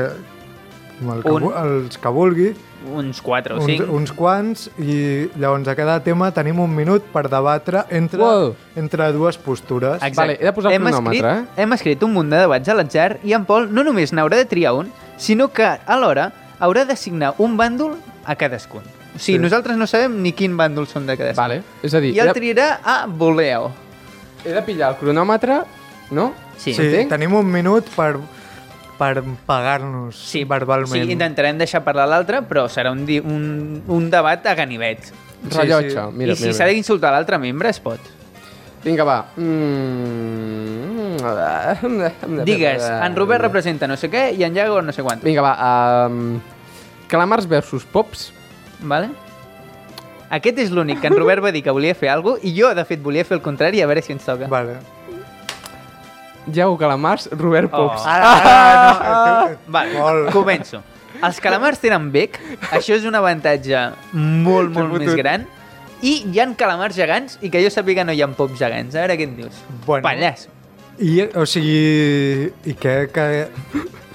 el que,
Un.
vu- els que vulgui,
Uns 4 o
uns,
5.
uns quants, i llavors a cada tema tenim un minut per debatre entre,
Wow.
entre dues postures.
Exacte.
Vale, he de posar el cronòmetre, eh?
escrit, Hem escrit un munt de debats a l'atzar i en Pol no només n'haurà de triar un, sinó que alhora haurà d'assignar un bàndol a cadascun. O sigui,
Sí.
sí. nosaltres no sabem ni quin bàndol són de cadascun.
Vale. És a dir,
I el
he de,
triarà a voleo.
he de pillar el cronòmetre, no?
Sí.
sí,
entenc.
tenim un minut per, per pagar-nos sí, verbalment.
Sí, intentarem deixar parlar l'altre, però serà un, di un, un debat a ganivet.
Sí,
Rellotge.
sí.
Mira,
I si
mira,
s'ha
mira.
d'insultar l'altre membre, es pot.
Vinga, va. Mm...
Digues, en Robert representa no sé què i en Iago no sé quant.
Vinga, va. Um... Calamars versus Pops.
Vale? Aquest és l'únic que en Robert va dir que volia fer alguna cosa i jo, de fet, volia fer el contrari a veure si ens toca.
Vale.
Iago Calamars, Robert Pops.
Ah,
Ara, ara, no, eh,
Vale,
Oh. Molt.
començo. Els calamars tenen bec, això és un avantatge molt, molt més gran, i hi han calamars gegants i que jo sàpiga no hi ha pops gegants. A veure què et dius.
Bueno.
Pallasso.
I, o sigui, i que, que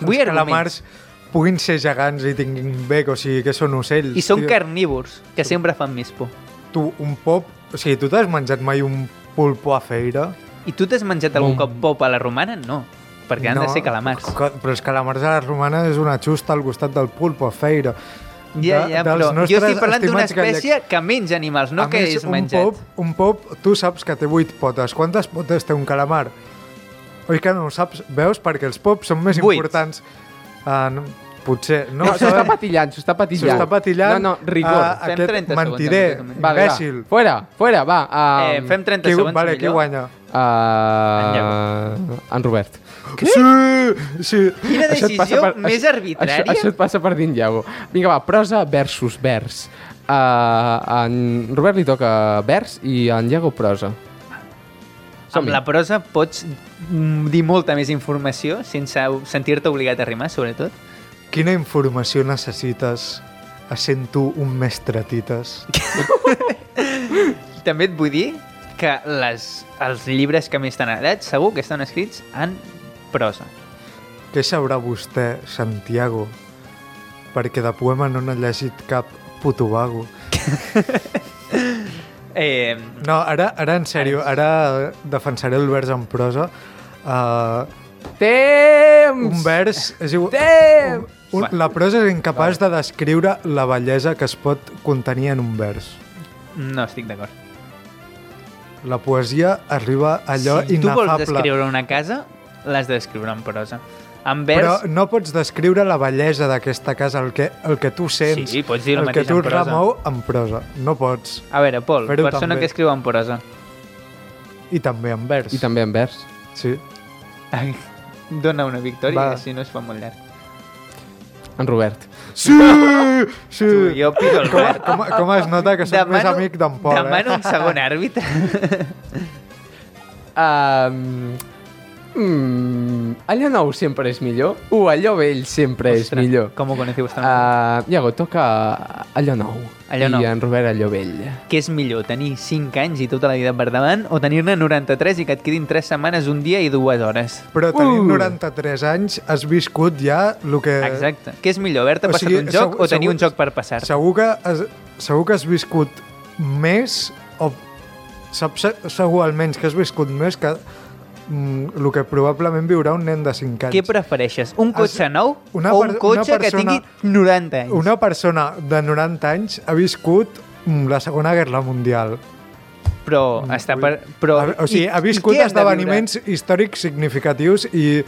Vull
els calamars puguin ser gegants i tinguin bec, o sigui, que són ocells.
I són
tio.
carnívors, que sempre fan més por.
Tu, un pop... O sigui, tu t'has menjat mai un pulpo a feira?
I tu t'has menjat algun cop pop a la romana? No, perquè han de ser calamars.
co- Però els calamars a la romana és una xusta al costat del pulpo a feira.
Ja,
De-
ja,
dels
però jo
nostres
estic parlant d'una
estimats gallecs.
espècie que menja animals, no
a
que
més,
és menjat.
Un pop, un pop, tu saps que té vuit potes. Quantes potes té un calamar? Oi que no ho saps? Veus? Perquè els pops són més
Vuit.
importants. Uh, no, Potser, no,
No,
ho
s'ho està
sabem.
patillant, s'ho està
S'ho
patillant.
està patillant.
No, no, rigor.
Ah,
Fem
aquest
30
mentider,
segons, en
vale,
imbècil.
va. Fuera, fuera, va. Um,
Eh, fem 30
Qui,
segons
vale, qui
millor.
guanya?
Uh, en Robert.
Sí, sí.
Quina
Això et passa
decisió més
això-
arbitrària.
Això, això et passa per dins llau. Vinga, va, prosa versus vers. Uh, en Robert li toca vers i en Iago prosa.
Amb
Som-hi.
la prosa pots mm, dir molta més informació sense sentir-te obligat a rimar, sobretot.
Quina informació necessites? Essent tu un mestre tites.
També et vull dir que les, els llibres que més t'han agradat segur que estan escrits en prosa.
Què sabrà vostè, Santiago? Perquè de poema no n'ha llegit cap puto vago.
Eh,
No, ara, ara en sèrio, ara defensaré el vers en prosa. Uh,
Temps!
un vers... És igual,
Temps!
un, la prosa és incapaç de descriure la bellesa que es pot contenir en un vers.
no estic d'acord.
La poesia arriba a allò
si tu vols
inefable.
descriure una casa, l'has de descriure en prosa. En vers...
Però no pots descriure la bellesa d'aquesta casa, el que, el que tu sents,
Sí, pots dir el
el que
mateix
tu
en prosa.
remou en prosa. No pots.
A veure, Pol,
Fer-ho
persona
també.
que escriu en prosa.
I també en vers.
I també en vers.
Sí.
Ai, Dona una victòria,
Va.
Va. si no es fa molt llarg.
En Robert.
Sí! sí.
Tu, jo pido el
Com,
verd.
com, com es nota que soc més amic d'en Pol,
demano
eh?
un segon àrbitre.
Um, mm, allò nou sempre és millor o allò vell sempre és millor?
Com ho coneixeu bastant.
Uh, Iago, toca allò nou.
Allò nou.
I en Robert allò vell.
Uh, Què és millor, tenir 5 anys i tota la vida per davant o tenir-ne 93 i que et quedin 3 setmanes, un dia i dues hores?
Però tenint
Uh.
93 anys has viscut ja el que...
Exacte. Què és millor, haver-te
Eh, O
passat
sigui,
un joc
segur-
o tenir
segur-
un joc per passar?
Segur que, has, segur que has viscut més o saps se- segur almenys que has viscut més que mm, el que probablement viurà un nen de 5 anys.
Què prefereixes, un cotxe nou
una
o
per-
un
una
cotxe que
persona-
tingui 90 anys?
Una persona de 90 anys ha viscut mm, la Segona Guerra Mundial.
Però està per... Però,
Ha- o sigui,
i-
ha
i
viscut
què hem de
esdeveniments històrics significatius i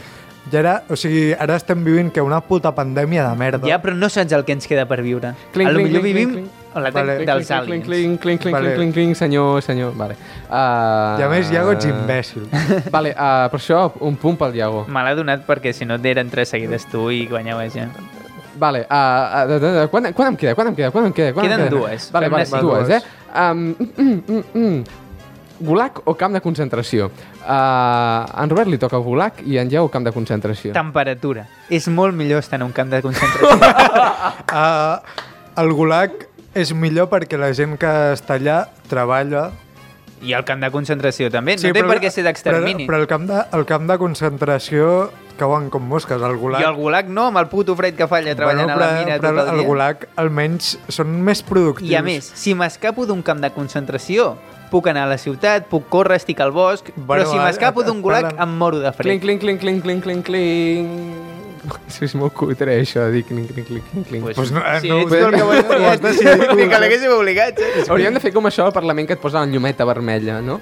ja ara, o sigui, ara estem vivint que una puta pandèmia de
viure?
merda.
Ja, però no saps el que ens queda per viure.
Cling,
a lo
cling,
millor
cling,
vivim
cling,
a la
Vale.
vale. dels
clink,
aliens.
clink, clink, clink,
Vale.
clink, clink, clink, senyor, senyor. Vale. Uh,
I a més, Iago, ets imbècil.
Vale, uh, per això, un punt pel Iago.
Me l'ha donat perquè si no t'eren tres seguides tu i guanyaves ja.
Vale, uh, uh, uh, quan, quan em queda? Quan em queda? Quan em queda? Quan
Queden
em queda?
dues.
Vale,
Fem-ne
vale,
cinc.
dues, eh? Um, mm, mm, mm, Gulag o camp de concentració? Uh, en Robert li toca Gulag i en Iago camp de concentració.
Temperatura. És molt millor estar en un camp de concentració.
Uh, el gulag és millor perquè la gent que està allà treballa...
I el camp de concentració també. no té
però-
per què ser d'extermini.
Però, però el, camp de, el camp de concentració cauen com mosques, el gulag.
I el gulag no, amb el puto fred que fa allà treballant a la mina tot el dia.
el gulag almenys són més productius.
I a més, si m'escapo d'un camp de concentració, puc anar a la ciutat, puc córrer, estic al bosc,
Bueno,
però si m'escapo
ara-
d'un gulag
ara-
em moro de
Clink,
fred.
clink, clink, clink, clink, clink, clink. Això és molt cutre, això de dir clink, clink, clink, clink, clink.
Pues no, eh,
sí,
no ho
ets tu el que
sé.
ho has decidit. Ni que l'haguéssim obligat. eh? saps?
Hauríem de fer com això al Parlament que et posa la llumeta vermella, no?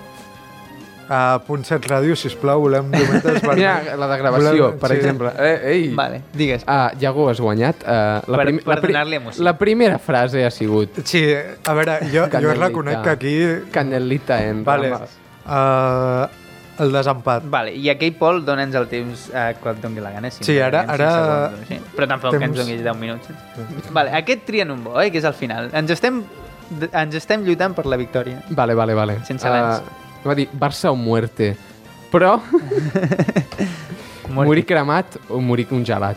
A punt set ràdio, sisplau, volem llumetes per...
Mira, la de gravació,
volem-
per
sí.
exemple. Eh, ei!
Vale, digues.
Ah, Iago, has guanyat. eh, la
Per-
prim-
per
la pri-
donar-li emoció.
La primera frase ha sigut
Sí, a veure, jo, jo
Canelita.
reconec que aquí...
Canelita en
Vale.
ramas.
Uh, el desempat.
Vale, i aquell Pol, dona'ns el temps eh, quan et doni la gana. Si
Sí,
em
ara-
donen cinc
ara-
segons, sí. Però tampoc que ens
temps-
donis 10 minuts. saps? Vale, aquest trien un bo, eh, que és el final. Ens estem, d- ens estem lluitant per la victòria.
Vale, vale, vale.
Sense abans.
Uh, va dir Barça o muerte. Però
Muerte.
morir cremat o morir congelat.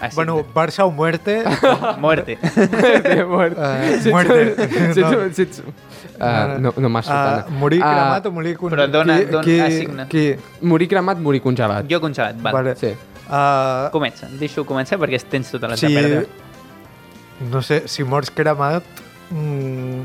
Ah, sí.
Bueno, Barça o muerte...
Muerte.
muerte, muerte.
Eh, muerte.
Si ets, si ets, uh, no, no m'has
Ah,
uh,
morir cremat o morir congelat?
però dona- dona- assigna.
Qui?
Morir cremat, morir congelat.
Jo congelat, vale.
Vale.
Sí.
Ah,
Comença, deixo començar perquè tens tota la
si,
sí. perdre.
no sé, si mors cremat, mm,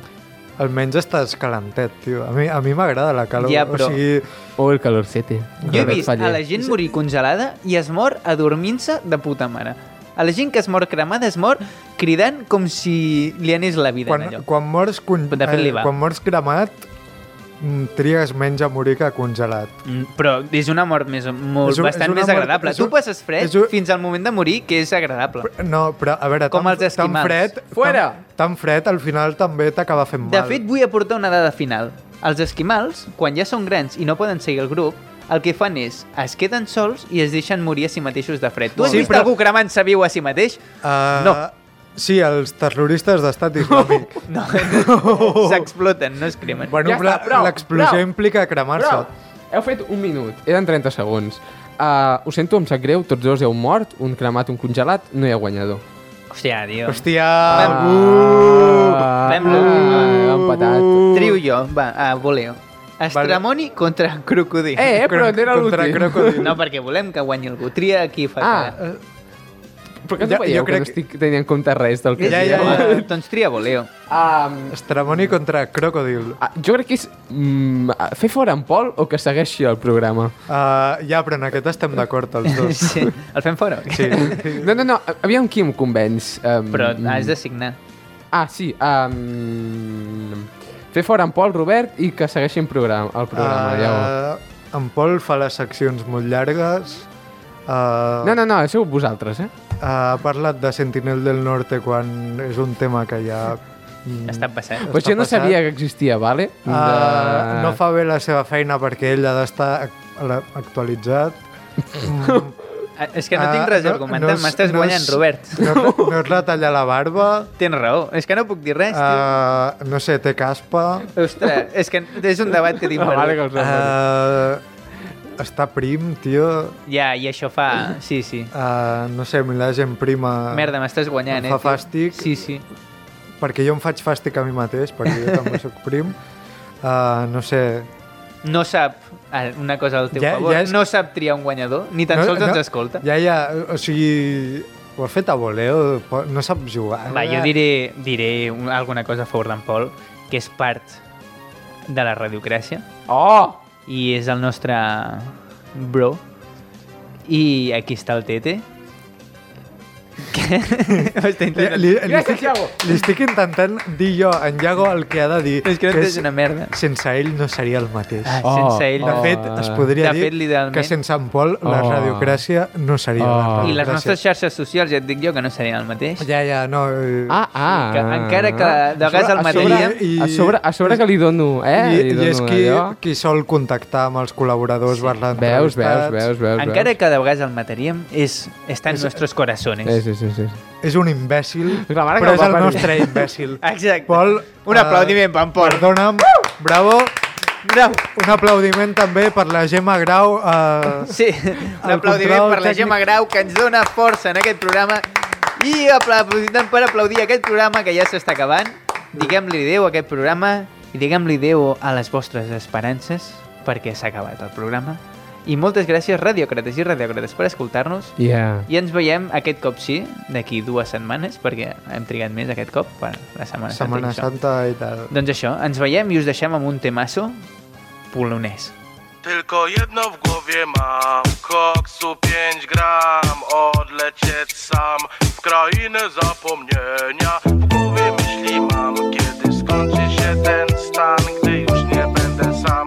almenys estàs calentet, tio. A mi a mi m'agrada la calor.
Ja, però-
O sigui,
O el calorcete.
Jo he
Robert
vist
Faller.
a la gent morir congelada i es mor adormint-se de puta mare. A la gent que es mor cremada es mor cridant com si li anés la vida
quan,
en allò.
quan mors, con,
De fet, li va.
quan mors cremat, mm, trigues menys a morir que congelat.
Mm, Però és una mort més, molt,
És un- és
és un, bastant
una
més
mort-
agradable.
és
Tu
un-
passes fred
és un-
fins al moment de morir, que és agradable.
No, però a veure,
Com
tan,
els esquimals.
tan fred...
Fuera!
Tan, tan fred al final també t'acaba fent mal.
De fet, vull aportar una dada final. Els esquimals, quan ja són grans i no poden seguir el grup, el que fan és, es queden sols i es deixen morir a si mateixos de fred. Tu has
Sí,
vist
però-
algú cremant-se viu a si mateix?
Uh,
No.
Sí, els terroristes d'estat islàmic.
No, s'exploten, no es cremen.
bueno,
Ja
però
està, prou,
l'explosió
prou.
implica cremar-se.
Prou! Heu fet un minut. Eren 30 segons. Uh, ho sento, em sap greu, tots dos heu mort, un cremat, un congelat, no hi ha guanyador.
Hòstia, tio.
Hòstia!
Ah,
Fem-lo.
ah, empatat.
Trio jo, va, ah, voleu. Estramoni contra crocodil.
Eh, però
Cro-
era
contra
l'últim.
crocodil.
No, perquè volem que guanyi algú. Tria aquí fa
Ah,
quedar.
Però que
Ja-
no veieu
jo crec
que no estic tenint en compte res del que
Ja,
dieu?
ja, ja.
Ah, Doncs tria voleu.
Um,
Estramoni contra Crocodil.
ah, jo crec que és mm, fer fora en Pol o que segueixi el programa.
Uh, ja, però en aquest estem d'acord els dos.
Sí. El fem fora?
Sí.
No, no, no, aviam qui em convenç. Um,
Però has de signar.
Ah, sí. Um, fer fora en Pol, Robert, i que segueixin programa, el programa. Uh... Ja ho...
Uh, en Pol fa les seccions molt llargues. Uh,
No, no, no, sou vosaltres, eh?
ah, Ha parlat de Sentinel del Norte quan és un tema que ja... mm,
Està passant.
Pues
està
jo no
passat.
sabia que existia, vale?
Uh, no fa bé la seva feina perquè ell ha d'estar ac- la- actualitzat. Mm,
Ah, És que no
ah,
tinc res a
no
argumentar.
és-
M'estàs
no
guanyant,
és-
Robert.
No, no es retalla la barba,
Tens raó. És que no puc dir res, tio.
uh, no sé, té caspa,
Ostres, és que és un debat que tinc
Ah, vale, que
perdut.
us uh...
uh, està prim, tio,
Ja, i això
Ah.
fa... Sí, sí.
uh, no sé, a mi la gent prima...
Merda, m'estàs guanyant,
Em
eh?
fa
tio.
fàstic.
Sí, sí.
Perquè jo em faig fàstic a mi mateix, perquè jo també sóc prim. Uh, no sé,
No sap ah, una cosa al teu
Ja-
favor.
ja és-
No sap triar un guanyador. Ni tan sols ens escolta.
Ja, ja, o sigui... Ho ha fet a voleo, po- no sap jugar.
Va, jo diré, diré un- alguna cosa a favor d'en Pol, que és part de la radiocràcia
Oh!
i és el nostre bro. I aquí està el Tete. Que... Ho està
Li,
intentant.
li, li,
Gràcies,
estic,
Iago!
li estic intentant dir jo, en Iago, el que ha de dir.
És que no és una merda.
Sense ell no seria el mateix.
Ah,
Ah,
Oh,
sense ell.
de
no.
fet, es podria
De
dir
fet, literalment-
que sense en Pol la
Oh.
radiocràcia no seria la
Oh.
radiocràcia.
I les nostres xarxes socials, ja et dic jo, que no serien el mateix.
Ja, ja, no... eh,
Ah, ah.
Que encara que de
A
vegades el
sobre- a sobre-
mataríem-
I-
A sobre, a sobre que li dono, eh?
I,
li
I
dono
és qui,
allò.
qui sol contactar amb els col·laboradors sí. parlant
Veus, veus, veus, veus.
Encara
veus.
que de vegades el mataríem, és, està en nostres corazones.
Eh, sí, sí, sí.
És un imbècil,
La mare que
però
el
és
va
el
parir.
nostre imbècil.
Exacte.
Pol,
Un
eh,
aplaudiment per en Pol.
Perdona'm, bravo.
Bravo.
Un aplaudiment també per la Gemma Grau. Eh,
Sí, un
El
aplaudiment
control
per la
tècnic.
Gemma Grau que ens dona força en aquest programa i apla- aprofitant per aplaudir aquest programa que ja s'està acabant. Diguem-li adéu a aquest programa i diguem-li adéu a les vostres esperances perquè s'ha acabat el programa. I moltes gràcies, radiocrates i radiocrates, per escoltar-nos.
Yeah.
I ens veiem aquest cop sí, d'aquí dues setmanes, perquè hem trigat més aquest cop per la Setmana,
Setmana
Santa. i això.
Santa i tal.
Doncs això, ens veiem i us deixem amb un temasso polonès.
Tylko jedno w głowie mam Koksu 5 gram Odlecieć sam W krainę zapomnienia W głowie myśli mam Kiedy skończy się ten stan Gdy już nie będę sam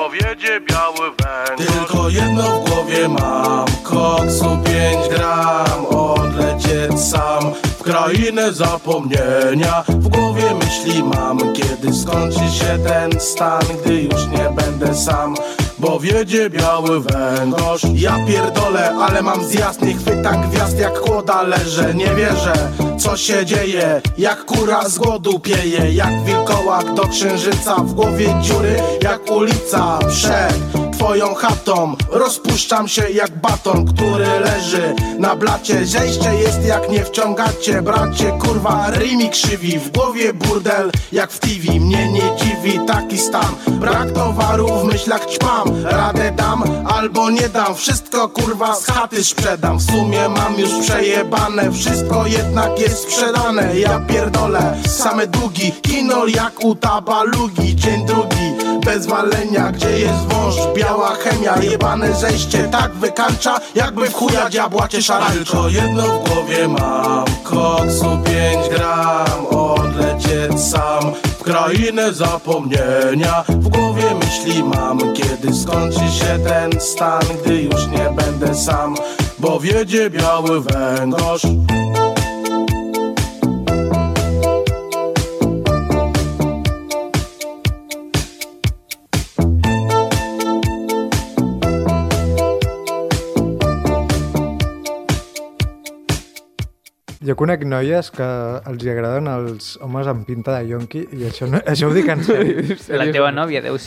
Bo wiedzie biały węgiel Tylko jedno w głowie mam Koksu 5 gram Odlecieć sam W krainę zapomnienia W głowie myśli mam Kiedy skończy się ten stan Gdy już nie będę sam bo wiedzie biały węgorz Ja pierdolę, ale mam z jasnych chwyta gwiazd Jak kłoda leżę, nie wierzę Co się dzieje, jak kura z głodu pieje Jak wilkołak do księżyca W głowie dziury, jak ulica Przed twoją chatą Rozpuszczam się jak baton, który leży na blacie Zejście jest jak nie wciągacie, bracie Kurwa, rymi krzywi, w głowie burdel Jak w TV, mnie nie dziwi taki stan Brak towaru, w myślach ćpam Radę dam albo nie dam Wszystko kurwa z chaty sprzedam W sumie mam już przejebane Wszystko jednak jest sprzedane Ja pierdolę, same długi Kinol jak u tabalugi Dzień drugi bez walenia Gdzie jest wąż, biała chemia Jebane zejście tak wykańcza Jakby w chuja diabła czy szarańcza Tylko jedno w głowie mam Koksu 5 gram Odlecieć sam w krainę zapomnienia W głowie myśli mam Kiedy skończy się ten stan Gdy już nie będę sam Bo wiedzie biały węgorz
Jo conec noies que els hi agraden els homes amb pinta de yonqui i això, no, això ho dic en sèrio.
La teva nòvia deu ser.